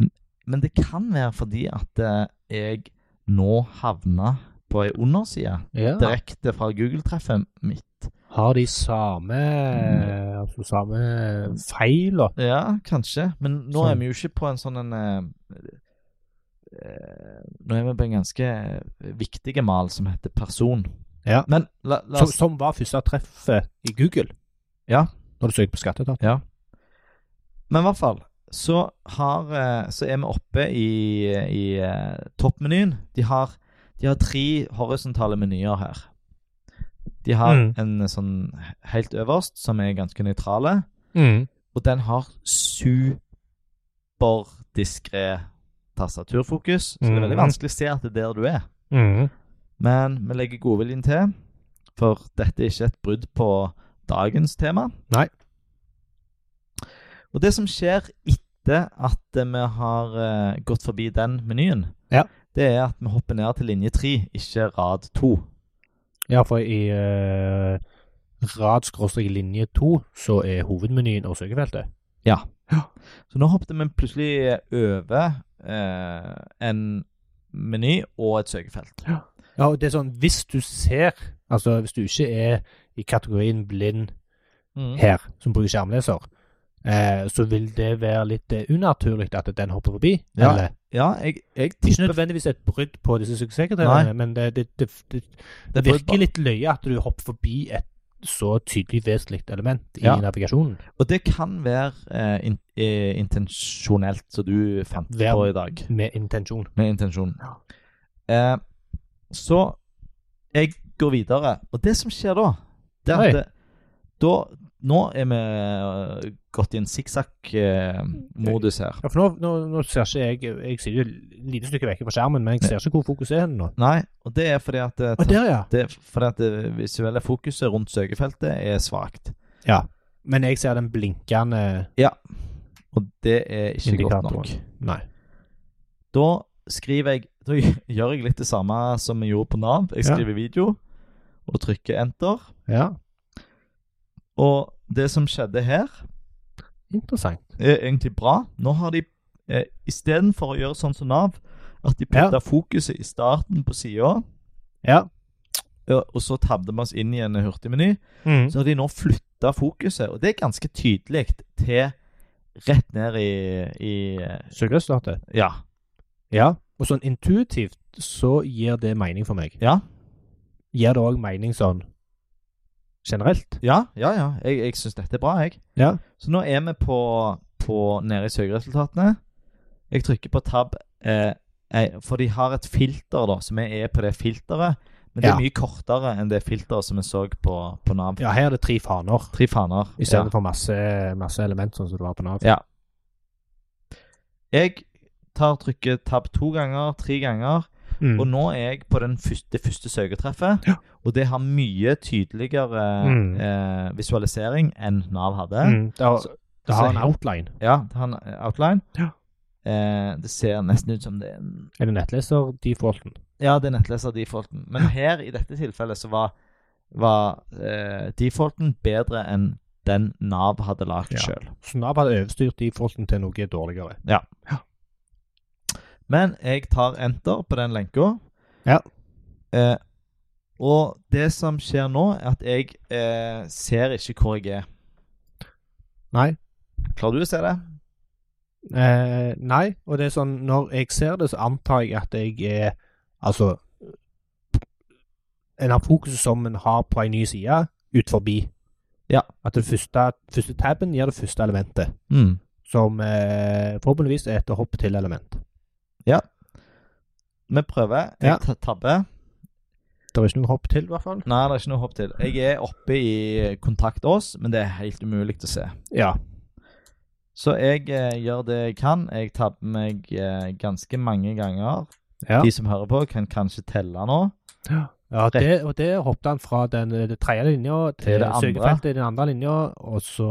S1: M- Men det kan være fordi at eh, jeg nå havna på ei underside
S2: ja.
S1: direkte fra Google-treffet mitt.
S2: Har de samme
S1: Mm.
S2: altså samme feil og
S1: Ja, kanskje. Men nå
S2: Sånn.
S1: er vi jo ikke på en sånn en eh, eh, Nå er vi på en ganske eh, viktig mal som heter person.
S2: Ja.
S1: Men la, la
S2: som,
S1: oss
S2: som var første treffet i Google.
S1: Ja.
S2: Når du søker på skatteetaten.
S1: Men i hvert fall så, har, eh, så er vi oppe i, i eh, toppmenyen. De har, de har tre horisontale menyer her. De har
S2: Mm.
S1: en sånn helt øverst, som er ganske nøytrale, og den har superdiskré tastaturfokus, så det er veldig
S2: Mhm.
S1: vanskelig å se at det er der du er. Men vi legger godviljen til, for dette er ikke et brudd på dagens tema.
S2: Nei.
S1: Og det som skjer etter at eh, vi har eh, gått forbi den menyen,
S2: Ja.
S1: det er at vi hopper ned til linje tre, ikke rad to.
S2: Ja, for i eh, rad skråstrek linje to så er hovedmenyen og søkefeltet.
S1: Så nå hoppet vi plutselig over eh, en meny og et søkefelt.
S2: Ja, og det er sånn, hvis du ser, altså hvis du ikke er i kategorien blind
S1: Mm.
S2: her, som bruker skjermleser, eh, så vil det være litt eh, unaturlig at den hopper forbi.
S1: Ja.
S2: Eller,
S1: Ja, jeg, jeg
S2: ikke
S1: tipper
S2: nødvendigvis et brudd på disse suksesssekretærene, men det, det, det, det,
S1: det
S2: virker litt løye at du hopper forbi et så tydelig vesentlig element i
S1: Ja.
S2: navigasjonen.
S1: Og det kan være eh, in, eh, intensjonelt, som du fant
S2: Vær-
S1: på i dag.
S2: Med intensjon.
S1: Med intensjon. Eh, så jeg går videre. Og det som skjer da, det er
S2: Oi.
S1: at det, da Nå er vi eh, gått i en sikksakk-modus her.
S2: Ja, for nå, nå, nå ser ikke jeg Jeg sitter jo et lite stykke vekk fra skjermen, men jeg ser ikke hvor fokus er hen nå.
S1: Nei, og det er fordi at,
S2: Å,
S1: eh,
S2: der, ja.
S1: det, er fordi at det visuelle fokuset rundt søkefeltet er svakt.
S2: ja. Men jeg ser den blinkende
S1: Og det er ikke godt nok.
S2: indikatoren. Nei.
S1: Da skriver jeg Da gjør jeg litt det samme som jeg gjorde på Nav. Jeg
S2: Ja.
S1: skriver video og trykker enter.
S2: Ja.
S1: Og det som skjedde her,
S2: Interessant.
S1: er egentlig bra. Nå har de eh, Istedenfor å gjøre sånn som Nav, at de
S2: Ja.
S1: putta fokuset i starten på sida,
S2: Ja.
S1: og så tabde vi oss inn i en hurtigmeny,
S2: Mm.
S1: så har de nå flytta fokuset, og det er ganske tydelig, til rett ned i, i eh,
S2: Søkeresultatet.
S1: Ja.
S2: Ja. Og sånn intuitivt så gir det mening for meg.
S1: Ja,
S2: Gir det òg mening sånn generelt?
S1: ja, ja. ja. Jeg, jeg syns dette er bra, jeg.
S2: Ja.
S1: Så nå er vi på, på nede i søkeresultatene. Jeg trykker på tab, eh, eh, for de har et filter da, som jeg er på det filteret. Men det
S2: Ja.
S1: er mye kortere enn det filteret som jeg så på, på Nav.
S2: Ja, her er det tre faner
S1: Tre faner.
S2: i stedet for masse, masse element, sånn som det var på Nav.
S1: Ja. Jeg tar trykket tab to ganger, tre ganger, og
S2: Mm.
S1: nå er jeg på den første, det første søketreffet. Og det har mye tydeligere
S2: Mm.
S1: eh, visualisering enn Nav hadde.
S2: Mm. Det har,
S1: Så-
S2: det har
S1: så-
S2: en outline.
S1: Ja, det har en outline.
S2: Ja.
S1: Eh, det ser nesten ut som det er en
S2: Er det nettleser defaulten?
S1: Ja, det er nettleser defaulten. Men her, i dette tilfellet, så var, var eh, defaulten bedre enn den Nav hadde lagd
S2: Ja.
S1: selv. sjøl.
S2: Så Nav hadde overstyrt defaulten til noe dårligere.
S1: Men jeg tar enter på den lenka.
S2: Ja.
S1: Eh, og det som skjer nå, er at jeg eh, ser ikke hvor jeg er.
S2: Nei.
S1: Klarer du å se det?
S2: Eh, nei, og det er sånn Når jeg ser det, så antar jeg at jeg er Altså En har fokuset som en har på en ny side, ut forbi.
S1: Ja.
S2: At den første, første tabben gir det første elementet,
S1: Mm.
S2: som eh, forhåpentligvis er et hopp til element.
S1: Vi prøver.
S2: Ja.
S1: Jeg ta- tabber.
S2: Det er ikke noe hopp til, i hvert fall.
S1: Nei, det er ikke noe hopp til. Jeg er oppe i kontakt oss, men det er helt umulig å se.
S2: Ja.
S1: Så jeg eh, gjør det jeg kan. Jeg tabber meg eh, ganske mange ganger.
S2: Ja.
S1: De som hører på, kan kanskje telle nå.
S2: Ja, det, og det hoppet han fra den, eh, den tredje linja
S1: Til
S2: til
S1: det andre.
S2: søkefeltet i den andre linja, og så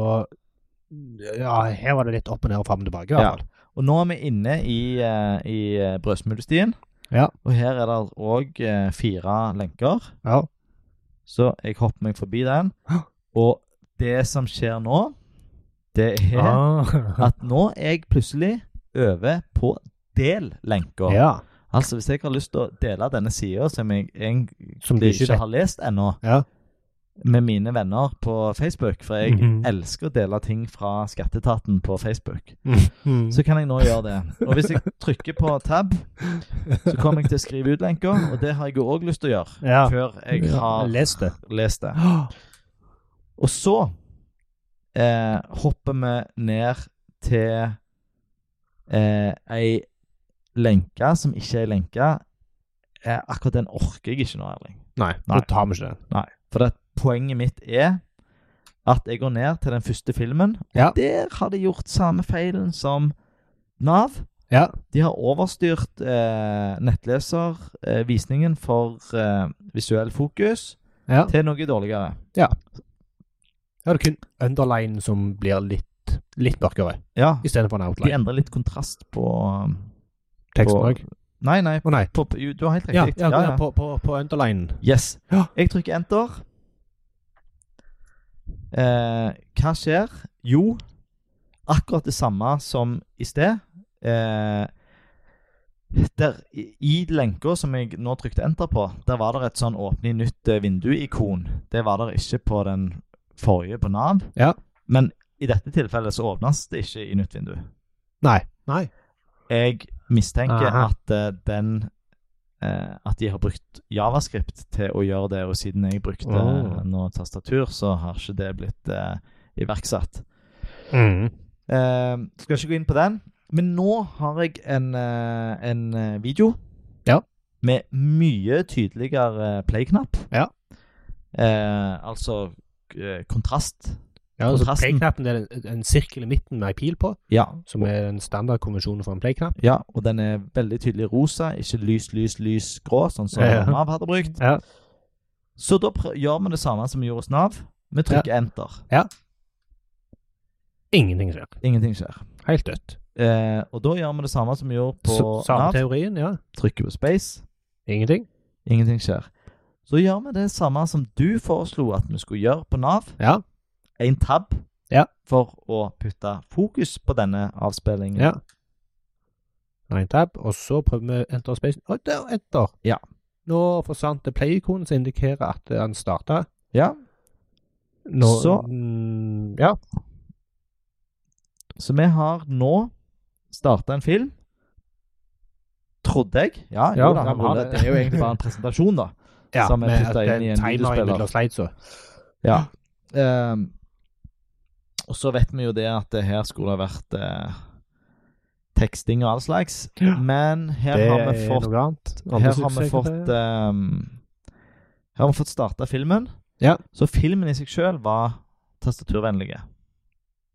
S2: Ja, her var det litt opp og ned og fram og tilbake, i hvert
S1: Ja.
S2: fall.
S1: Og nå er vi inne i, eh, i eh, brødsmulestien.
S2: Ja.
S1: Og her er det òg fire lenker.
S2: Ja.
S1: Så jeg hopper meg forbi den.
S2: Hå!
S1: Og det som skjer nå, det er
S2: Ah.
S1: at nå er jeg plutselig over på del-lenka.
S2: ja.
S1: Altså, hvis jeg har lyst til å dele denne sida som jeg egentlig
S2: Som du ikke
S1: ikke,
S2: vet.
S1: har lest ennå,
S2: Ja.
S1: med mine venner på Facebook, for jeg
S2: Mhm.
S1: elsker å dele ting fra skatteetaten på Facebook,
S2: Mm.
S1: så kan jeg nå gjøre det. Og hvis jeg trykker på tab, så kommer jeg til å skrive ut lenka, og det har jeg jo òg lyst til å gjøre
S2: ja.
S1: før jeg har
S2: Les det.
S1: lest det. Og så eh, hopper vi ned til eh, ei lenke som ikke er ei lenke. Eh, akkurat den orker jeg ikke nå, Erling.
S2: Nei,
S1: Nei.
S2: da tar vi ikke den.
S1: For det, poenget mitt er at jeg går ned til den første filmen. og
S2: Ja.
S1: Der har de gjort samme feilen som Nav.
S2: Ja.
S1: De har overstyrt eh, nettleservisningen eh, visningen for eh, visuell fokus
S2: Ja.
S1: til noe dårligere.
S2: Ja, det er kun underline som blir litt, litt mørkere,
S1: Ja,
S2: istedenfor en
S1: de
S2: outline.
S1: endrer litt kontrast på eh,
S2: Teksten
S1: på-
S2: òg.
S1: Nei, nei,
S2: Å nei.
S1: på, jo, du har helt
S2: Ja,
S1: riktig.
S2: ja, ja. På, på, på underline.
S1: Yes.
S2: Ja.
S1: Jeg trykker enter. Eh, hva skjer? Jo, akkurat det samme som i sted. Eh, der, I i lenka som jeg nå trykte enter på, der var det et sånn åpne i nytt eh, vindu-ikon. Det var det ikke på den forrige på Nav.
S2: Ja.
S1: Men i dette tilfellet så åpnes det ikke i nytt vindu.
S2: Nei. Nei.
S1: Jeg mistenker
S2: Aha.
S1: at eh, den eh, At de har brukt javascript til å gjøre det, og siden jeg brukte
S2: Oh.
S1: nå tastatur, så har ikke det blitt eh, iverksatt.
S2: Mm.
S1: Eh, skal ikke gå inn på den, men nå har jeg en, eh, en eh, video
S2: Ja.
S1: med mye tydeligere eh, play-knapp.
S2: Ja.
S1: Eh, altså eh, kontrast.
S2: Ja, altså
S1: Kontrasten.
S2: Play-knappen er en, en sirkel i midten med ei pil på,
S1: Ja.
S2: som er den standardkonvensjonen for en play-knapp.
S1: ja, og den er veldig tydelig rosa, ikke lys, lys, lys grå, sånn som
S2: Ja.
S1: Nav hadde brukt.
S2: Ja.
S1: Så da prø- gjør vi det samme som vi gjorde hos Nav. Vi trykker enter.
S2: Ingenting skjer.
S1: Ingenting skjer.
S2: Helt dødt.
S1: Eh, og da gjør vi det samme som vi gjorde på
S2: S- Samme
S1: Nav.
S2: teorien, ja.
S1: Trykker på space.
S2: Ingenting.
S1: Ingenting skjer. Så gjør vi det samme som du foreslo at vi skulle gjøre på Nav.
S2: Ja.
S1: En tab
S2: Ja.
S1: for å putte fokus på denne avspillingen.
S2: Ja. Nei, tab, og så prøver vi enter space. Og der, enter.
S1: Ja.
S2: Nå forsvant det play-ikonet som indikerer at den starta.
S1: Ja,
S2: Nå
S1: Så-
S2: mm, Ja.
S1: Så vi har nå starta en film. Trodde jeg. Ja,
S2: Ja,
S1: jo da,
S2: ja,
S1: han
S2: vi har
S1: ruller.
S2: det.
S1: det er jo egentlig bare en presentasjon, da.
S2: ja
S1: Som er
S2: med
S1: puttet
S2: at
S1: inn
S2: det er
S1: i en
S2: timer
S1: videospiller.
S2: mellom slidesa.
S1: Ja. Ehm, og så vet vi jo det at det her skulle det ha vært eh, teksting og all slags.
S2: Ja.
S1: Men her
S2: Det
S1: har vi
S2: er
S1: fått
S2: noe annet. Andre
S1: Her har vi
S2: suksesser.
S1: fått ehm, Her har vi fått starta filmen.
S2: Ja.
S1: Så filmen i seg sjøl var tastaturvennlig.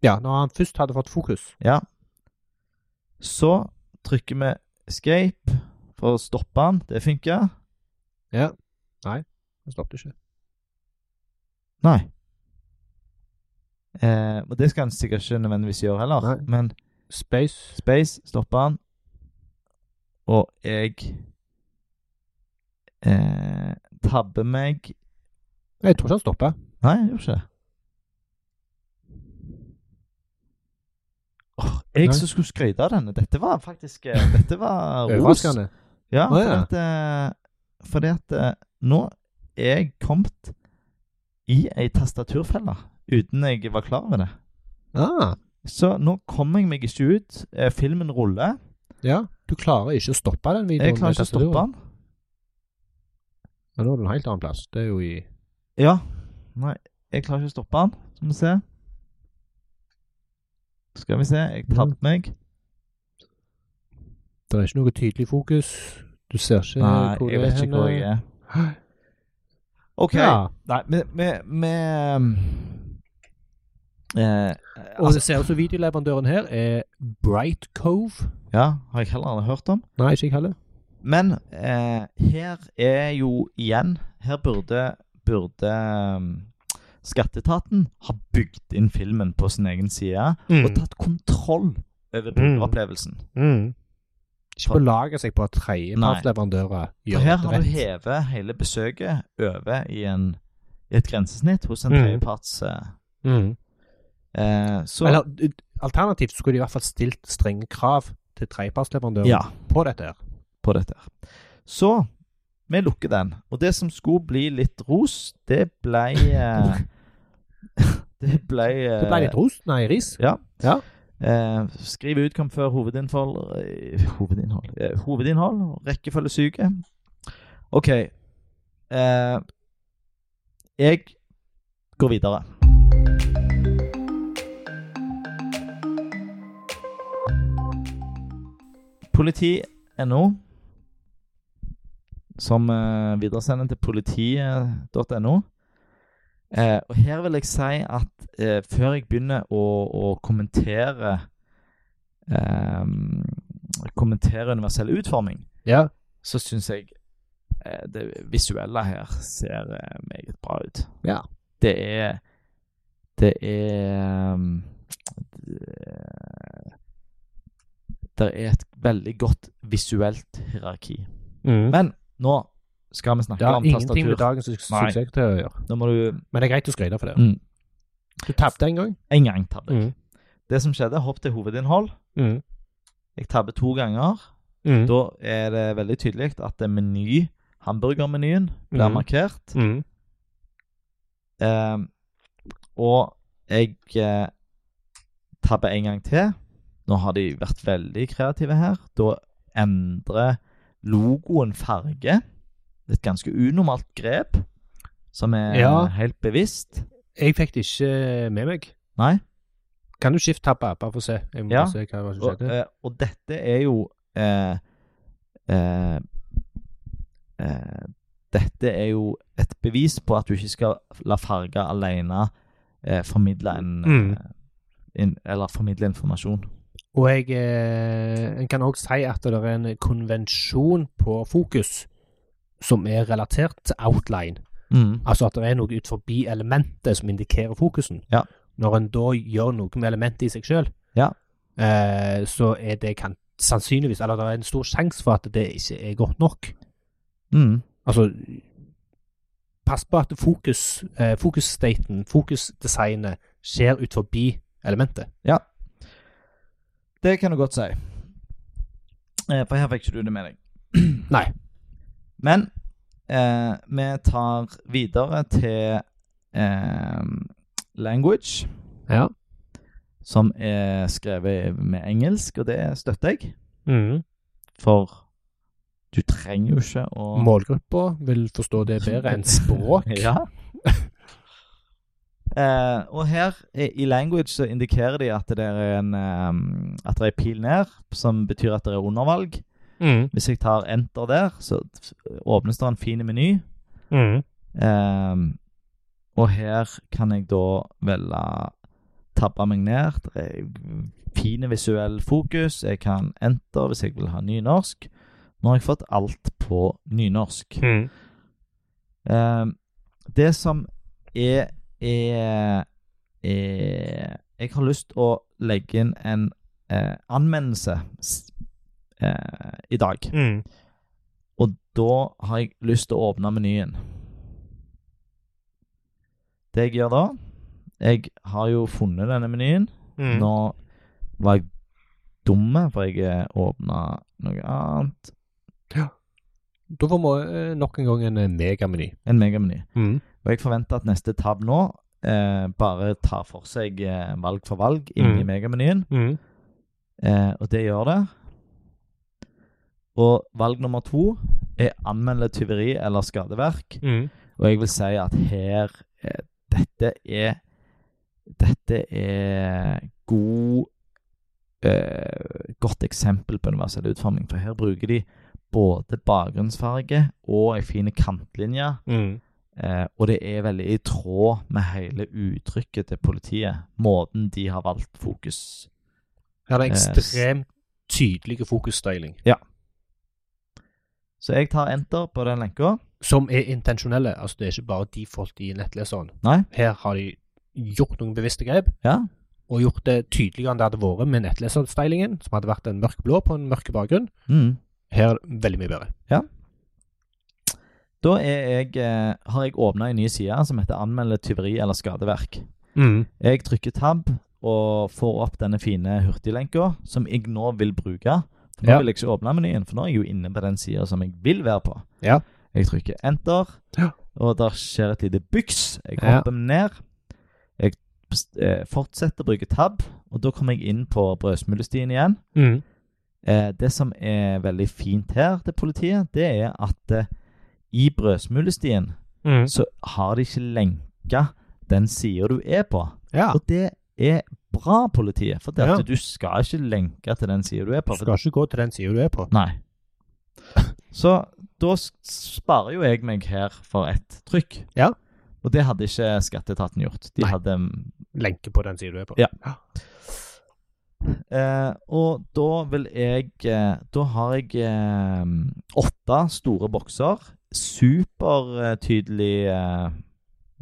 S2: Ja, når han først hadde fått fokus.
S1: Ja. Så trykker vi escape for å stoppe den. Det funker.
S2: Han stoppet ikke.
S1: Nei. Eh, og det skal en sikkert ikke nødvendigvis gjøre heller,
S2: Nei.
S1: men
S2: Space.
S1: Space stopper han, og jeg eh, tabber meg
S2: Jeg tror ikke han stoppa.
S1: Nei, jeg gjorde ikke det. Åh, jeg
S2: Nei.
S1: som skulle skryte av denne. Dette var faktisk eh, Dette var ros.
S2: Overraskende.
S1: Ja,
S2: Å,
S1: fordi
S2: ja.
S1: at, eh, fordi at eh, nå er jeg kommet i ei tastaturfelle uten jeg var klar over det.
S2: Ah,
S1: Så nå kommer jeg meg ikke ut. Eh, Filmen ruller.
S2: ja. Du klarer ikke å stoppe den videoen.
S1: Jeg klarer
S2: med
S1: ikke å stoppe den.
S2: tastaturet. Men nå er du en helt annen plass. Det er jo i
S1: Ja. Nei, jeg klarer ikke å stoppe den. Skal vi se. Skal vi se. Jeg tabber meg.
S2: Det er ikke noe tydelig fokus. Du ser ikke
S1: Nei,
S2: hvor
S1: jeg
S2: det
S1: vet ikke hvor jeg er.
S2: er.
S1: OK.
S2: Ja.
S1: Nei, vi vi- vi, eh,
S2: Og
S1: altså,
S2: det ser ut som videoleverandøren her er Bright Cove.
S1: Ja, har jeg heller aldri hørt om.
S2: Nei, ikke jeg heller.
S1: Men eh, her er jo igjen Her burde, burde um, skatteetaten ha bygd inn filmen på sin egen side og
S2: Mm.
S1: tatt kontroll over
S2: Mm.
S1: brukeropplevelsen.
S2: Mm. Ikke belage seg på at tredjepartsleverandører
S1: For
S2: gjør
S1: her
S2: det
S1: har du
S2: rett.
S1: hevet hele besøket over i, en, i et grensesnitt hos en
S2: Mm.
S1: tredjeparts eh,
S2: Mm.
S1: eh, Så
S2: Eller, ut- alternativt så skulle de i hvert fall stilt strenge krav til tredjepartsleverandøren
S1: Ja.
S2: på dette. her.
S1: på dette. her. Så vi lukker den. Og det som skulle bli litt ros, det ble eh, Det ble, eh,
S2: Det ble litt ros. Nei, ris.
S1: Ja.
S2: Ja.
S1: Eh, skriv ut kom før hovedinnhold eh, Hovedinnhold. Eh, hovedinnhold og rekkefølgesyke. OK. Eh, jeg går videre. Politi.no, som eh, videresender til politiet.no. Eh, og her vil jeg si at eh, før jeg begynner å, å kommentere eh, Kommentere universell utforming,
S2: Ja.
S1: så syns jeg eh, det visuelle her ser eh, meget bra ut.
S2: Ja.
S1: Det er Det er um, det- Det er et veldig godt visuelt hierarki.
S2: Mm.
S1: Men nå skal vi
S2: Det
S1: snakke
S2: har
S1: om
S2: ingenting med
S1: tastatur.
S2: dagens su-
S1: Nei.
S2: suksess til å gjøre.
S1: Nå må du
S2: Men det er greit å skryte for det.
S1: mm,
S2: Du tapte en gang.
S1: En gang tabbe.
S2: Mm.
S1: Det som skjedde, hopp til hovedinnhold.
S2: Mm.
S1: Jeg tabber to ganger.
S2: Mm.
S1: Da er det veldig tydelig at det meny, hamburgermenyen, blir
S2: Mhm.
S1: markert.
S2: Mm.
S1: Eh, og jeg eh, tabber en gang til. Nå har de vært veldig kreative her. Da endrer logoen farge. Et ganske unormalt grep, som er
S2: Ja.
S1: helt bevisst.
S2: Jeg fikk det ikke med meg.
S1: Nei.
S2: Kan du skifte-tabbe, bare for å se? Jeg må
S1: Ja.
S2: bare se hva som
S1: Og,
S2: skjedde.
S1: eh, og dette er jo eh, eh, eh, Dette er jo et bevis på at du ikke skal la farger alene eh, formidle en
S2: Mm.
S1: eh, in, Eller formidle informasjon.
S2: Og jeg, eh, en kan òg si at det er en konvensjon på fokus som er relatert til outline.
S1: Mm.
S2: Altså at det er noe ut forbi elementet som indikerer fokusen.
S1: Ja.
S2: Når en da gjør noe med elementet i seg sjøl,
S1: Ja.
S2: eh, så er det kan, sannsynligvis Eller det er en stor sjanse for at det ikke er godt nok.
S1: Mm.
S2: Altså Pass på at fokus, eh, fokusstaten, fokusdesignet, skjer ut forbi elementet.
S1: Det kan du godt si. Eh, for her fikk ikke du det med deg.
S2: Nei.
S1: Men eh, vi tar videre til eh, language.
S2: Ja.
S1: som er skrevet med engelsk, og det støtter jeg.
S2: Mm.
S1: For du trenger jo ikke å
S2: Målgruppa vil forstå det bedre enn språk.
S1: Ja. Eh, og her i i language så indikerer de at det er en eh, At det er pil ned, som betyr at det er undervalg.
S2: Mm.
S1: Hvis jeg tar enter der, så åpnes det en fin meny.
S2: Mm.
S1: Ehm, og her kan jeg da velge tabbe meg ned. Det er fine visuell fokus. Jeg kan enter hvis jeg vil ha nynorsk. Nå har jeg fått alt på nynorsk.
S2: Mm.
S1: Ehm, det som er, er, er Jeg har lyst å legge inn en eh, anmeldelse s- eh, i dag.
S2: Mm.
S1: Og da har jeg lyst til å åpne menyen. Det jeg gjør da Jeg har jo funnet denne menyen.
S2: Mm.
S1: Nå var jeg dumme, for jeg eh, åpna noe annet.
S2: Da får vi eh, nok en gang en eh, megameny.
S1: En megameny.
S2: Mm.
S1: Og jeg forventer at neste tab nå eh, bare tar for seg eh, valg for valg inni
S2: Mm.
S1: megamenyen.
S2: Mm.
S1: Eh, og det gjør det. Og valg nummer to er anmelde tyveri eller skadeverk.
S2: Mm.
S1: Og jeg vil si at her eh, Dette er Dette er god eh, Godt eksempel på universell utforming. For her bruker de både bakgrunnsfarge og ei fin kantlinje.
S2: Mm.
S1: Eh, og det er veldig i tråd med hele uttrykket til politiet. Måten de har valgt fokus.
S2: Her er det
S1: Eh, s-
S2: ekstremt tydelig fokusstyling.
S1: Så jeg tar enter på den lenka.
S2: Som er intensjonelle. Altså, det er ikke bare default i nettleseren.
S1: Nei.
S2: Her har de gjort noen bevisste grep,
S1: Ja.
S2: og gjort det tydeligere enn det hadde vært med nettleserstylingen, som hadde vært en mørkblå på en mørk bakgrunn.
S1: Mm.
S2: Her er det veldig mye bedre.
S1: Da er jeg, eh, har jeg åpna en ny side som heter 'Anmelde tyveri eller skadeverk'.
S2: Mm,
S1: Jeg trykker tab og får opp denne fine hurtiglenka, som jeg nå vil bruke. For nå
S2: Ja.
S1: vil jeg ikke åpne menyen, for nå er jeg jo inne på den sida som jeg vil være på.
S2: Ja.
S1: Jeg trykker enter,
S2: Ja.
S1: og der skjer et lite byks. Jeg
S2: Ja.
S1: hopper ned. Jeg eh, fortsetter å bruke tab, og da kommer jeg inn på brødsmulestien igjen.
S2: mm,
S1: Eh, det som er veldig fint her til politiet, det er at eh, i brødsmulestien
S2: mm.
S1: så har de ikke lenka den sida du er på.
S2: Ja.
S1: Og det er bra politiet, for det at
S2: Ja.
S1: du skal ikke lenke til den sida du er på.
S2: Du
S1: For
S2: skal ikke gå til den sida du er på.
S1: Nei. Så da s- sparer jo jeg meg her for ett trykk.
S2: Ja.
S1: Og det hadde ikke skatteetaten gjort. De
S2: Nei.
S1: hadde
S2: Lenke på den sida du er på.
S1: Ja. eh, Og da vil jeg eh, Da har jeg eh, åtte store bokser. Supertydelig eh,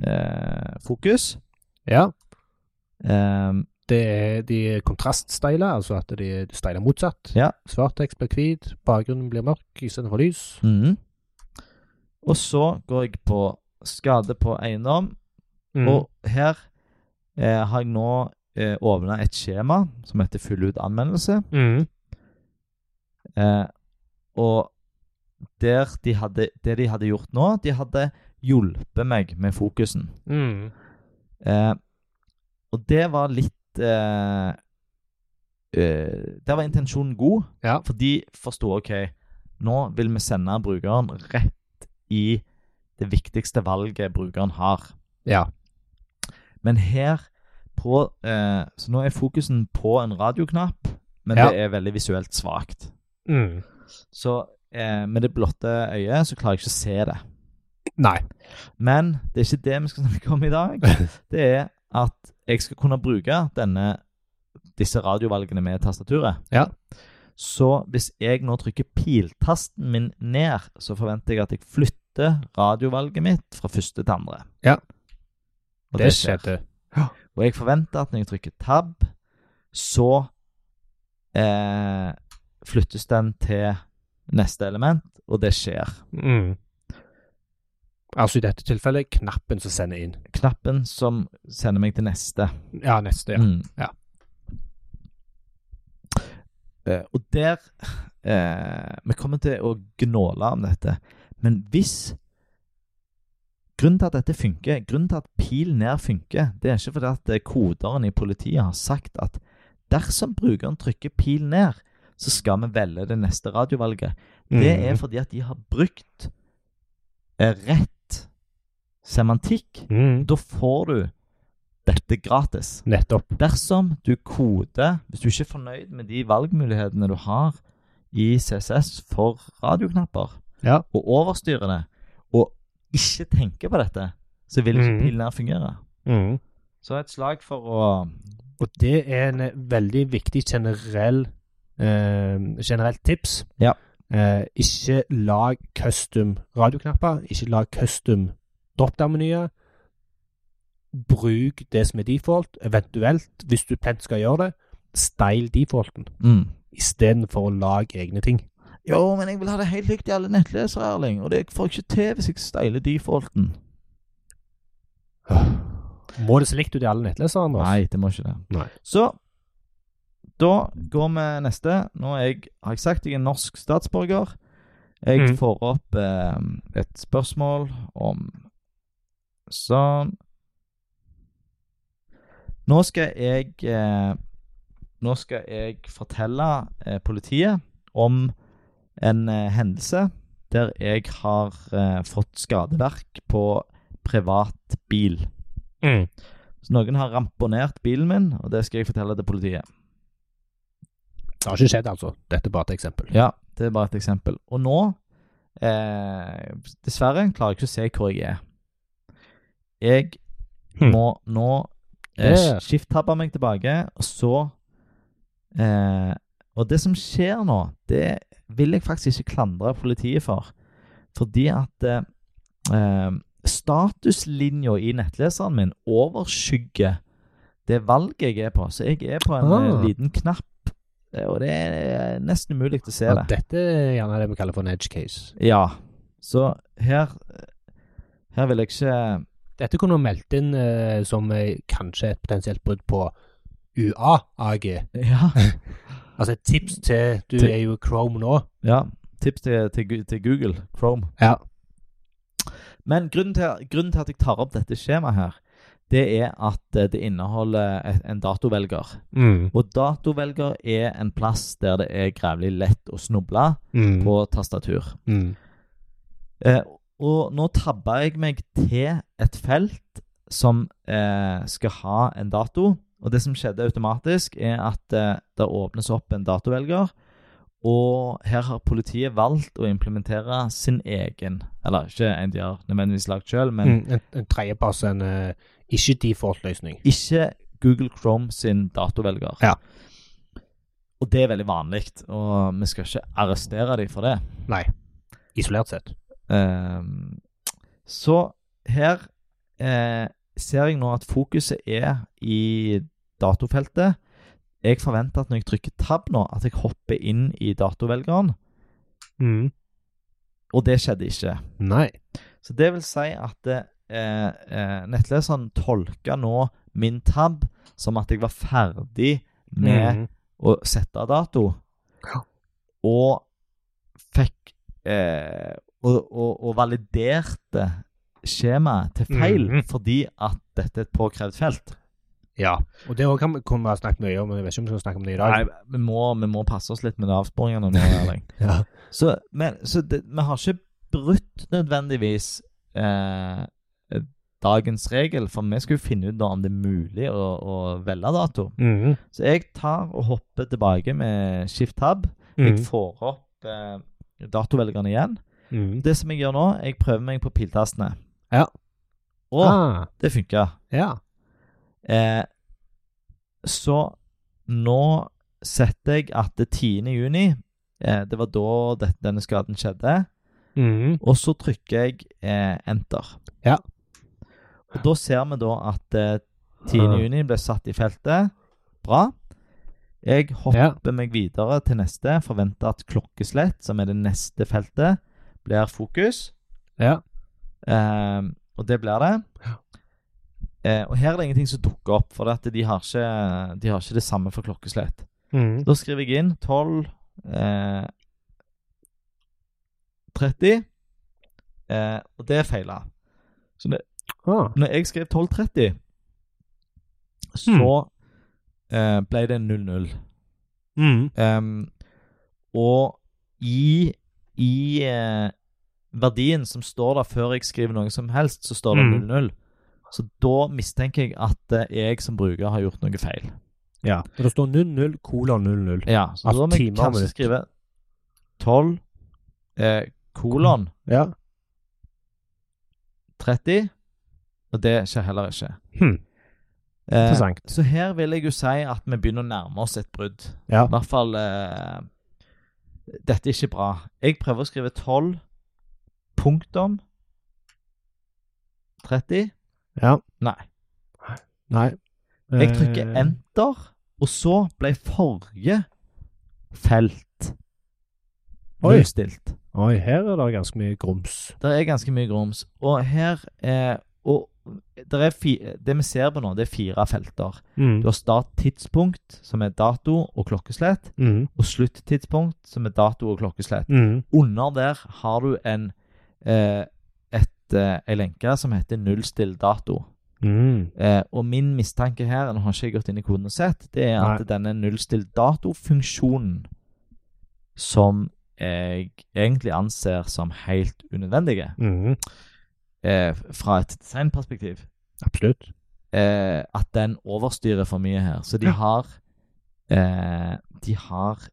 S1: eh, fokus.
S2: Ja.
S1: Eh,
S2: Det er de kontraststyler, altså at de styler motsatt.
S1: Ja.
S2: Svarttekst blir hvit, bakgrunnen blir mørk istedenfor lys.
S1: mhm. Og så går jeg på skade på eiendom.
S2: Og
S1: Og her eh, har jeg nå eh, åpna et skjema som heter 'Fyll ut anmeldelse'.
S2: Mm.
S1: Eh, og der de hadde, det de hadde gjort nå, de hadde hjulpet meg med fokusen.
S2: Mm.
S1: Eh, og det var litt eh, eh, Der var intensjonen god,
S2: Ja.
S1: for de forsto OK, nå vil vi sende brukeren rett i det viktigste valget brukeren har.
S2: Ja.
S1: Men her på eh, Så nå er fokusen på en radioknapp, men
S2: Ja.
S1: det er veldig visuelt svakt.
S2: Mm.
S1: Så eh, med det blotte øyet så klarer jeg ikke å se det.
S2: Nei.
S1: Men det er ikke det vi skal snakke om i dag. Det er at jeg skal kunne bruke denne, disse radiovalgene med tastaturet.
S2: Ja.
S1: Så hvis jeg nå trykker piltasten min ned, så forventer jeg at jeg flytter radiovalget mitt fra første til andre.
S2: Ja.
S1: Og
S2: det skjedde.
S1: og jeg forventer at når jeg trykker tab, så eh, flyttes den til neste element, og det skjer.
S2: Mm. Altså i dette tilfellet knappen som sender inn.
S1: Knappen som sender meg til neste.
S2: Ja, neste. Ja.
S1: Mm.
S2: Ja.
S1: Eh, og der eh, Vi kommer til å gnåle om dette, men hvis Grunnen til at dette funker, grunnen til at pil ned funker, det er ikke fordi at eh, koderen i politiet har sagt at dersom brukeren trykker pil ned, så skal vi velge det neste radiovalget.
S2: Mm.
S1: Det
S2: Mhm.
S1: er fordi at de har brukt eh, rett semantikk.
S2: Mm.
S1: Da får du dette gratis.
S2: Nettopp.
S1: Dersom du koder, hvis du ikke er fornøyd med de valgmulighetene du har i CSS for radioknapper,
S2: Ja.
S1: og overstyrer det, og ikke tenker på dette, så vil ikke
S2: Mhm.
S1: pilen her fungere.
S2: Mm.
S1: Så et slag for å
S2: Og det er en eh, veldig viktig generell eh, generelt tips.
S1: Ja.
S2: Eh, ikke lag custom radioknapper. Ikke lag custom drop-down-menyer. Bruk det som er default. Eventuelt, hvis du plent skal gjøre det, style defaulten
S1: mm.
S2: istedenfor å lage egne ting.
S1: Jo, men jeg vil ha det helt likt i alle nettlesere, Erling, og det får jeg ikke til hvis jeg steiler defaulten.
S2: Må det se likt ut i alle nettlesere? Anders?
S1: Nei, det må ikke det.
S2: Nei.
S1: Så da går vi neste. Nå er jeg, har jeg sagt jeg er norsk statsborger. Jeg
S2: Mhm.
S1: får opp eh, et spørsmål om Sånn. Nå skal jeg eh, Nå skal jeg fortelle eh, politiet om en eh, hendelse der jeg har eh, fått skadeverk på privat bil.
S2: Mm.
S1: Så noen har ramponert bilen min, og det skal jeg fortelle til politiet.
S2: Det har ikke skjedd, altså. Dette er bare et eksempel.
S1: Ja, Det er bare et eksempel. Og nå, eh, dessverre, klarer jeg ikke å se hvor jeg er. Jeg
S2: Hmm.
S1: må nå eh,
S2: Der.
S1: skifttabbe meg tilbake, og så eh, Og det som skjer nå, det vil jeg faktisk ikke klandre politiet for. Fordi at eh, eh, statuslinja i nettleseren min overskygger det valget jeg er på. Så jeg er på en
S2: Ah.
S1: eh, liten knapp, eh, og det er nesten umulig å se
S2: Og
S1: det.
S2: dette er gjerne det vi kaller for en edge case.
S1: Ja. Så her Her vil jeg ikke
S2: Dette kunne vi meldt inn eh, som eh, kanskje et potensielt brudd på UA-AG.
S1: Ja.
S2: Altså et tips til Du
S1: Til-
S2: er jo Chrome nå.
S1: ja tips til, til, Gu- til Google, Chrome.
S2: Ja.
S1: Men grunnen til, grunnen til at jeg tar opp dette skjemaet her, det er at eh, det inneholder et- en datovelger.
S2: Mm.
S1: Og datovelger er en plass der det er grævlig lett å snuble
S2: Mm.
S1: på tastatur. Eh, og nå tabba jeg meg til et felt som eh, skal ha en dato. Og det som skjedde automatisk, er at eh, det åpnes opp en datovelger. Og her har politiet valgt å implementere sin egen Eller ikke en de har nødvendigvis lagd sjøl, men
S2: Mm, en, en tredjepass, en eh, ikke default-løsning.
S1: ikke Google Chrome sin datovelger.
S2: Ja.
S1: Og det er veldig vanlig, og vi skal ikke arrestere dem for det.
S2: Nei, isolert sett.
S1: Ehm, så her eh, ser jeg nå at fokuset er i datofeltet. Jeg forventer at når jeg trykker tab nå, at jeg hopper inn i datovelgeren,
S2: Mm.
S1: og det skjedde ikke.
S2: Nei.
S1: Så det vil si at eh, eh, nettleseren tolka nå min tab som at jeg var ferdig med
S2: Mm.
S1: å sette dato.
S2: Ja.
S1: Og fikk eh, og, og, og validerte skjemaet til feil
S2: Mhm.
S1: fordi at dette er et påkrevd felt.
S2: Ja. Og det også kan vi kunne vi ha snakket mye om, men jeg vet ikke om vi skal snakke om det i dag.
S1: Nei, vi må, vi må passe oss litt med avsporingene nå, Erling.
S2: Ja.
S1: Så, men, så det, vi har ikke brutt nødvendigvis eh, dagens regel, for vi skal jo finne ut nå om det er mulig å, å velge dato.
S2: Mm.
S1: Så jeg tar og hopper tilbake med skift tab.
S2: Mm.
S1: Jeg får opp eh, datovelgerne igjen.
S2: Mm.
S1: Det som jeg gjør nå, jeg prøver meg på piltastene.
S2: Ja.
S1: Og
S2: Ah,
S1: det funka.
S2: ja.
S1: Eh, så nå setter jeg at det 10. juni eh, Det var da det, denne skaden skjedde.
S2: Mm.
S1: Og så trykker jeg eh, enter.
S2: Ja.
S1: Og da ser vi da at eh, 10.
S2: Ah.
S1: juni ble satt i feltet. Bra. Jeg hopper
S2: Ja.
S1: meg videre til neste. Forventer at klokkeslett, som er det neste feltet, blir fokus.
S2: Ja.
S1: Eh, og det blir det.
S2: Ja.
S1: Eh, og her er det ingenting som dukker opp, for det at de, har ikke, de har ikke det samme for klokkeslett.
S2: Mm.
S1: Da skriver jeg inn 12 eh, 30, eh, og det feila. Så det,
S2: Ah.
S1: når jeg skrev 12.30, så eh, ble det 0-0.
S2: Mm.
S1: Ehm, og i, i eh, verdien som står der før jeg skriver noe som helst, så står det
S2: Mm.
S1: 00. Så da mistenker jeg at eh, jeg som bruker har gjort noe feil.
S2: Ja. Og det står 00 kolon 00.
S1: Ja, så
S2: Altså
S1: da må jeg
S2: timer og
S1: kanskje
S2: minutt.
S1: skrive 12 eh, kolon
S2: Ja.
S1: 30, og det skjer heller ikke.
S2: Hm.
S1: Eh,
S2: Interessant.
S1: så her vil jeg jo si at vi begynner å nærme oss et brudd.
S2: Ja.
S1: I hvert fall eh, Dette er ikke bra. Jeg prøver å skrive 12 punktum 30.
S2: Ja.
S1: Nei.
S2: Nei.
S1: Jeg trykker
S2: Eh,
S1: enter, og så ble forrige felt
S2: Oi.
S1: nullstilt.
S2: Eh, Oi, her er det ganske mye grums.
S1: Det er ganske mye grums. Og her eh, og der er fi, Det vi ser på nå, det er fire felter.
S2: Mm.
S1: Du har start-tidspunkt, som er dato og klokkeslett,
S2: Mm.
S1: og slutt-tidspunkt, som er dato og klokkeslett.
S2: Mm.
S1: Under der har du en eh, et, eh, ei lenke som heter nullstill dato.
S2: Mm.
S1: Eh, og min mistanke her, nå har ikke jeg gått inn i koden og sett, det er at denne nullstill dato-funksjonen som jeg egentlig anser som helt unødvendige
S2: Mm.
S1: eh, fra et designperspektiv,
S2: Absolutt.
S1: eh, at den overstyrer for mye her. Så de
S2: Ja.
S1: har eh, De har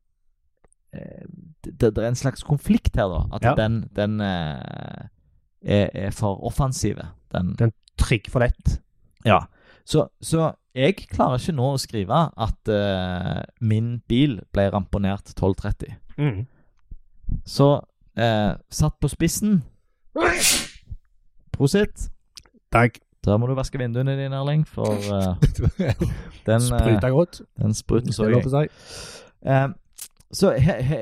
S1: eh, det, det er en slags konflikt her, da. At
S2: Ja.
S1: den, den eh, er, er for offensive. Den,
S2: Den trigger for lett.
S1: ja. Så, så jeg klarer ikke nå å skrive at eh, min bil ble ramponert 12.30.
S2: Mm.
S1: Så eh, satt på spissen Prosit.
S2: Takk.
S1: Der må du vaske vinduene dine, Erling, for eh, den, eh,
S2: Spruta godt.
S1: den spruten så
S2: Det er lov
S1: jeg.
S2: til å si.
S1: Eh, så he, he,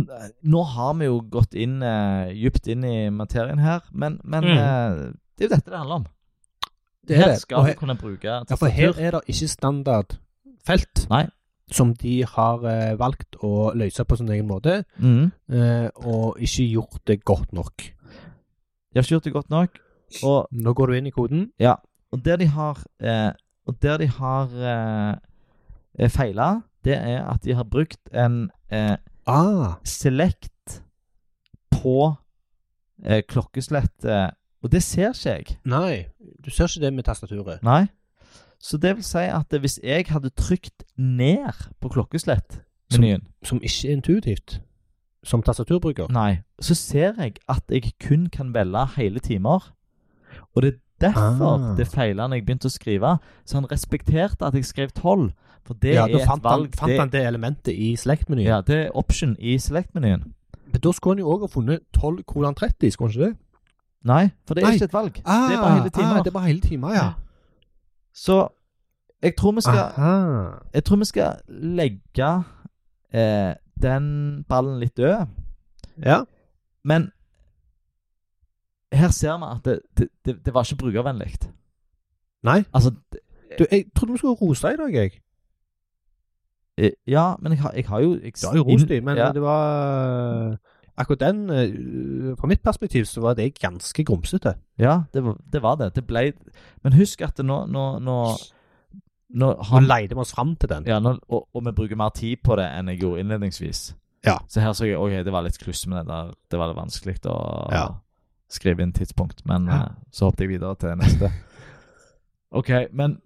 S1: n- nå har vi jo gått inn eh, dypt inn i materien her, men, men
S2: Mhm.
S1: eh, det er jo dette det handler om.
S2: Det er
S1: her
S2: det.
S1: skal
S2: Og
S1: du
S2: he-
S1: kunne bruke
S2: Ja, for her
S1: tastatur.
S2: er det ikke standardfelt
S1: Nei.
S2: som de har eh, valgt å løse på sin egen måte,
S1: Mhm.
S2: eh, og ikke gjort det godt nok.
S1: De har ikke gjort det godt nok. Og
S2: Nå går du inn i koden.
S1: Og der de har, eh, og der de har eh, feila, det er at de har brukt en eh,
S2: Ah,
S1: select på eh, klokkeslettet. Og det ser ikke jeg.
S2: nei. Du ser ikke det med tastaturet.
S1: Nei. Så det vil si at hvis jeg hadde trykt ned på klokkeslett-menyen,
S2: Som ikke er intuitivt. Som tastaturbruker.
S1: Nei. så ser jeg at jeg kun kan velge hele timer. Og det er derfor
S2: Ah.
S1: det feila når jeg begynte å skrive. Så han respekterte at jeg skrev 12. For det
S2: ja, da
S1: er et
S2: fant, han,
S1: valg
S2: fant
S1: det
S2: han det elementet i slektmenyen.
S1: Ja, det er option i select-menyen.
S2: Men da skulle han jo òg ha funnet 12 kolon 30, skulle han ikke det?
S1: Nei, for det er
S2: Nei.
S1: ikke et valg. det er bare hele timer.
S2: Ah, det er bare hele timer, ja.
S1: Så jeg tror vi skal,
S2: Aha.
S1: jeg tror vi skal legge eh, den ballen litt død.
S2: Ja.
S1: Men her ser vi at det, det, det, det var ikke brukervennlig.
S2: Nei.
S1: Altså det-
S2: Du, jeg trodde vi skulle rose deg i dag, jeg.
S1: eh, Ja, men jeg har, jeg har jo jeg,
S2: Du har jo rost dem, men
S1: ja.
S2: det var Akkurat den, eh, fra mitt perspektiv, så var det ganske grumsete.
S1: Ja, det var det. Var det. det ble, men husk at det nå Nå, nå, nå har
S2: Han leide oss fram til den.
S1: Ja, nå, og, og vi bruker mer tid på det enn jeg gjorde innledningsvis.
S2: Ja.
S1: Så her så jeg ok, det var litt kluss med det der. Det var litt vanskelig å
S2: Ja.
S1: skrive inn tidspunkt, men
S2: Ja.
S1: eh, så hoppet jeg videre til neste. OK, men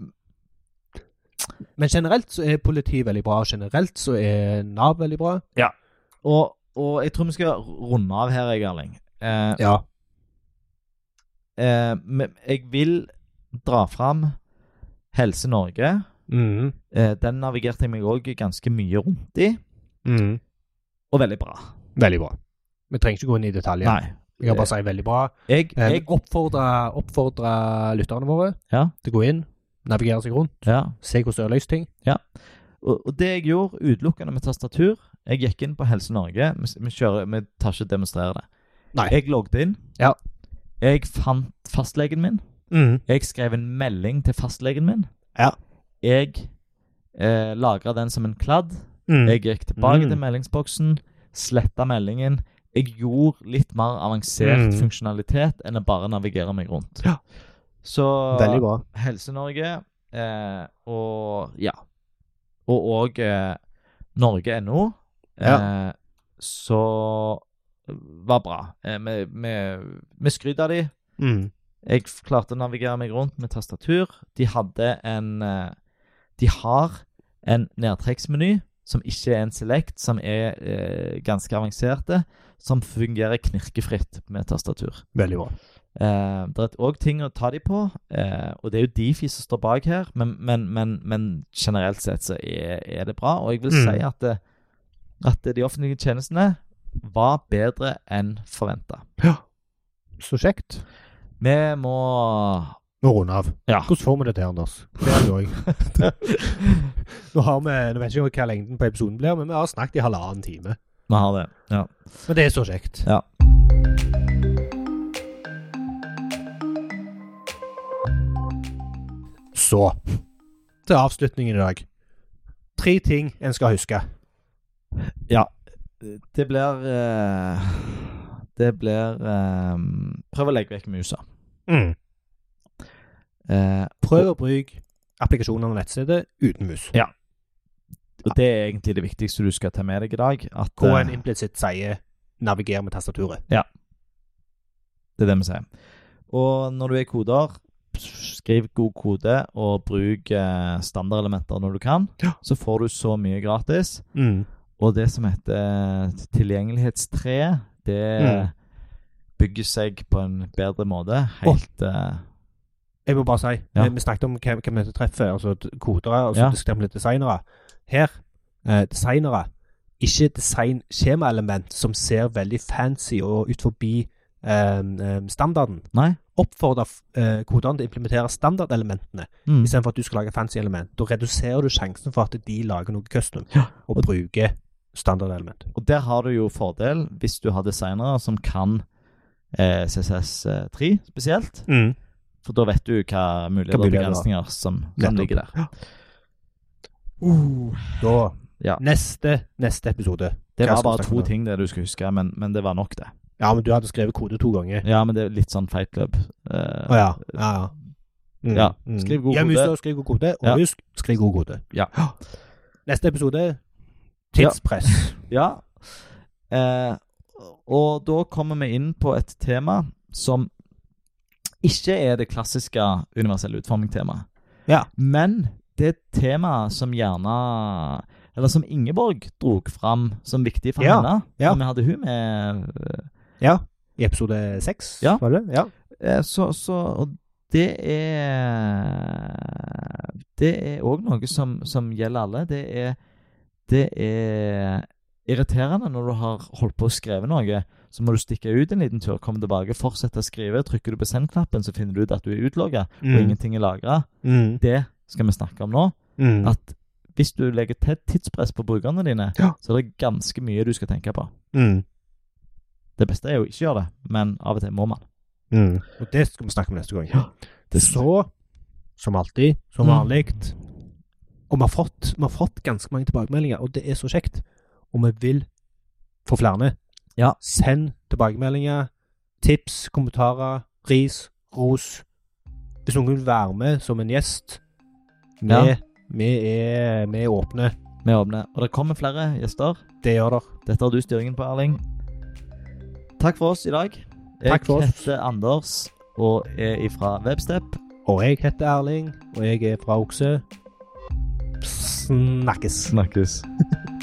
S2: Men generelt så er politi veldig bra, og generelt så er Nav veldig bra.
S1: Og, og jeg tror vi skal runde av her, jeg, Erling. Eh,
S2: Ja.
S1: eh, men jeg vil dra fram Helse Norge.
S2: Mm.
S1: Eh, den navigerte jeg meg òg ganske mye rundt i,
S2: Mm.
S1: og veldig bra.
S2: Veldig bra. Vi trenger ikke gå inn i detaljer.
S1: Nei.
S2: Jeg kan bare si veldig bra.
S1: Jeg,
S2: Eh,
S1: jeg
S2: oppfordrer, oppfordrer lytterne våre
S1: Ja.
S2: til å gå inn, navigere seg rundt,
S1: ja.
S2: se hvordan det er løst ting.
S1: Og, og det jeg gjorde utelukkende med tastatur Jeg gikk inn på Helse Norge. Vi, s- vi, kjører, vi tar ikke og demonstrerer det.
S2: Nei.
S1: Jeg logget inn.
S2: Ja.
S1: Jeg fant fastlegen min.
S2: Mm,
S1: Jeg skrev en melding til fastlegen min.
S2: Ja.
S1: Jeg eh, lagra den som en kladd. Jeg gikk tilbake
S2: Mm.
S1: til meldingsboksen, sletta meldingen. Jeg gjorde litt mer avansert
S2: Mm.
S1: funksjonalitet enn å bare navigere meg rundt.
S2: Ja.
S1: Så
S2: Veldig bra.
S1: Helse-Norge eh, og ja. Og òg eh, Norge.no. Eh, Så var bra. Eh, vi vi- vi skryter av de.
S2: Mm.
S1: Jeg f- klarte å navigere meg rundt med tastatur. De hadde en eh, De har en nedtrekksmeny som ikke er en select, som er eh, ganske avanserte, som fungerer knirkefritt med tastatur.
S2: Veldig bra.
S1: Eh, det er òg ting å ta de på, eh, og det er jo Difi som står bak her, men, men, men, men generelt sett så er, er det bra. Og jeg vil
S2: Mm.
S1: si at, det- at de offentlige tjenestene var bedre enn forventa.
S2: Så kjekt.
S1: Vi må
S2: Nå runder av.
S1: Ja.
S2: Hvordan får vi det til, Anders? Det er det også. nå har vi, nå vet jeg ikke hva lengden på episoden blir, men vi har snakket i halvannen time.
S1: Vi har det. Ja.
S2: Men det er så kjekt.
S1: Ja.
S2: Så til avslutningen i dag. Tre ting en skal huske.
S1: Det blir eh, Det blir eh, Prøv å legge vekk musa. Mm. Eh,
S2: Prøv å bruke applikasjoner og nettstedet uten mus.
S1: og det er egentlig det viktigste du skal ta med deg i dag. At
S2: Hvor
S1: eh,
S2: en implisitt sier 'naviger med tastaturet'.
S1: det er det vi sier. Og når du er koder, skriv god kode og bruk eh, standardelementer når du kan.
S2: Ja.
S1: Så får du så mye gratis. Og det som heter tilgjengelighetsstre, det
S2: Mm.
S1: bygger seg på en bedre måte. Helt eh,
S2: Jeg må bare si,
S1: Ja.
S2: vi, vi snakket om hvem hvem vi treffer, altså d- kodere, og så
S1: Ja.
S2: diskuterte vi litt designere. Her, eh, designere, ikke designskjemaelement som ser veldig fancy og ut forbi eh, eh, standarden.
S1: Nei.
S2: Oppfordre eh, koderne til å implementere standardelementene,
S1: Mm.
S2: istedenfor at du skal lage fancy element. Da reduserer du sjansen for at de lager noe custom,
S1: Ja.
S2: og bruker standardelement.
S1: Og der har du jo fordel hvis du har designere som kan eh, CCS3 spesielt.
S2: Mm.
S1: For da vet du hva muligheter
S2: Hva
S1: og
S2: muligheter,
S1: begrensninger som,
S2: Nettopp.
S1: som ligger der.
S2: Da,
S1: Ja.
S2: neste, neste episode.
S1: Det
S2: Hva
S1: var
S2: skal
S1: bare
S2: vi snakke
S1: to
S2: om?
S1: ting det du skulle huske, men, men det var nok, det.
S2: Ja, men du hadde skrevet kode to ganger.
S1: Ja, men det er litt sånn feitløp. Eh,
S2: Å ja. ja, ja. Mm.
S1: Ja, skriv god
S2: Gjem
S1: kode.
S2: huset og skriv god kode. Og
S1: Ja.
S2: husk, skriv god kode.
S1: Ja.
S2: Neste episode tidspress.
S1: Ja. Eh, og da kommer vi inn på et tema som ikke er det klassiske universell utforming-temaet.
S2: Ja.
S1: Men det er et tema som gjerne Eller som Ingeborg drog fram som viktig for
S2: Ja,
S1: henne.
S2: ja.
S1: Når vi hadde hun med. eh,
S2: I episode seks,
S1: Ja.
S2: var det? Ja.
S1: Eh, så, så Og det er Det er òg noe som, som gjelder alle. Det er, det er irriterende når du har holdt på å skrive noe. Så må du stikke ut en liten tur, komme tilbake, fortsette å skrive. Trykker du på send-knappen, så finner du ut at du er utlogga, og ingenting er lagra.
S2: Mm.
S1: Det skal vi snakke om nå.
S2: Mm.
S1: At hvis du legger tett tidspress på brukerne dine,
S2: Ja.
S1: så er det ganske mye du skal tenke på.
S2: Mm.
S1: Det beste er jo ikke å gjøre det, men av og til må man.
S2: Mm. Og det skal vi snakke om neste gang.
S1: Ja, det skal
S2: Så, som alltid, som
S1: Mm.
S2: vanlig Og vi har, fått, vi har fått ganske mange tilbakemeldinger, og det er så kjekt. Og vi vil få flere.
S1: Ja.
S2: Send tilbakemeldinger, tips, kommentarer, ris, ros. Hvis noen vil være med som en gjest Vi,
S1: Ja.
S2: vi, er, vi er åpne.
S1: Vi åpner. Og det kommer flere gjester.
S2: Det gjør dere.
S1: Dette har du styringen på, Erling. Takk for oss i dag. Jeg
S2: Takk for oss.
S1: heter Anders og er ifra Webstep.
S2: Og jeg heter Erling, og jeg er fra Okse. Snakkes.
S1: Snakkes.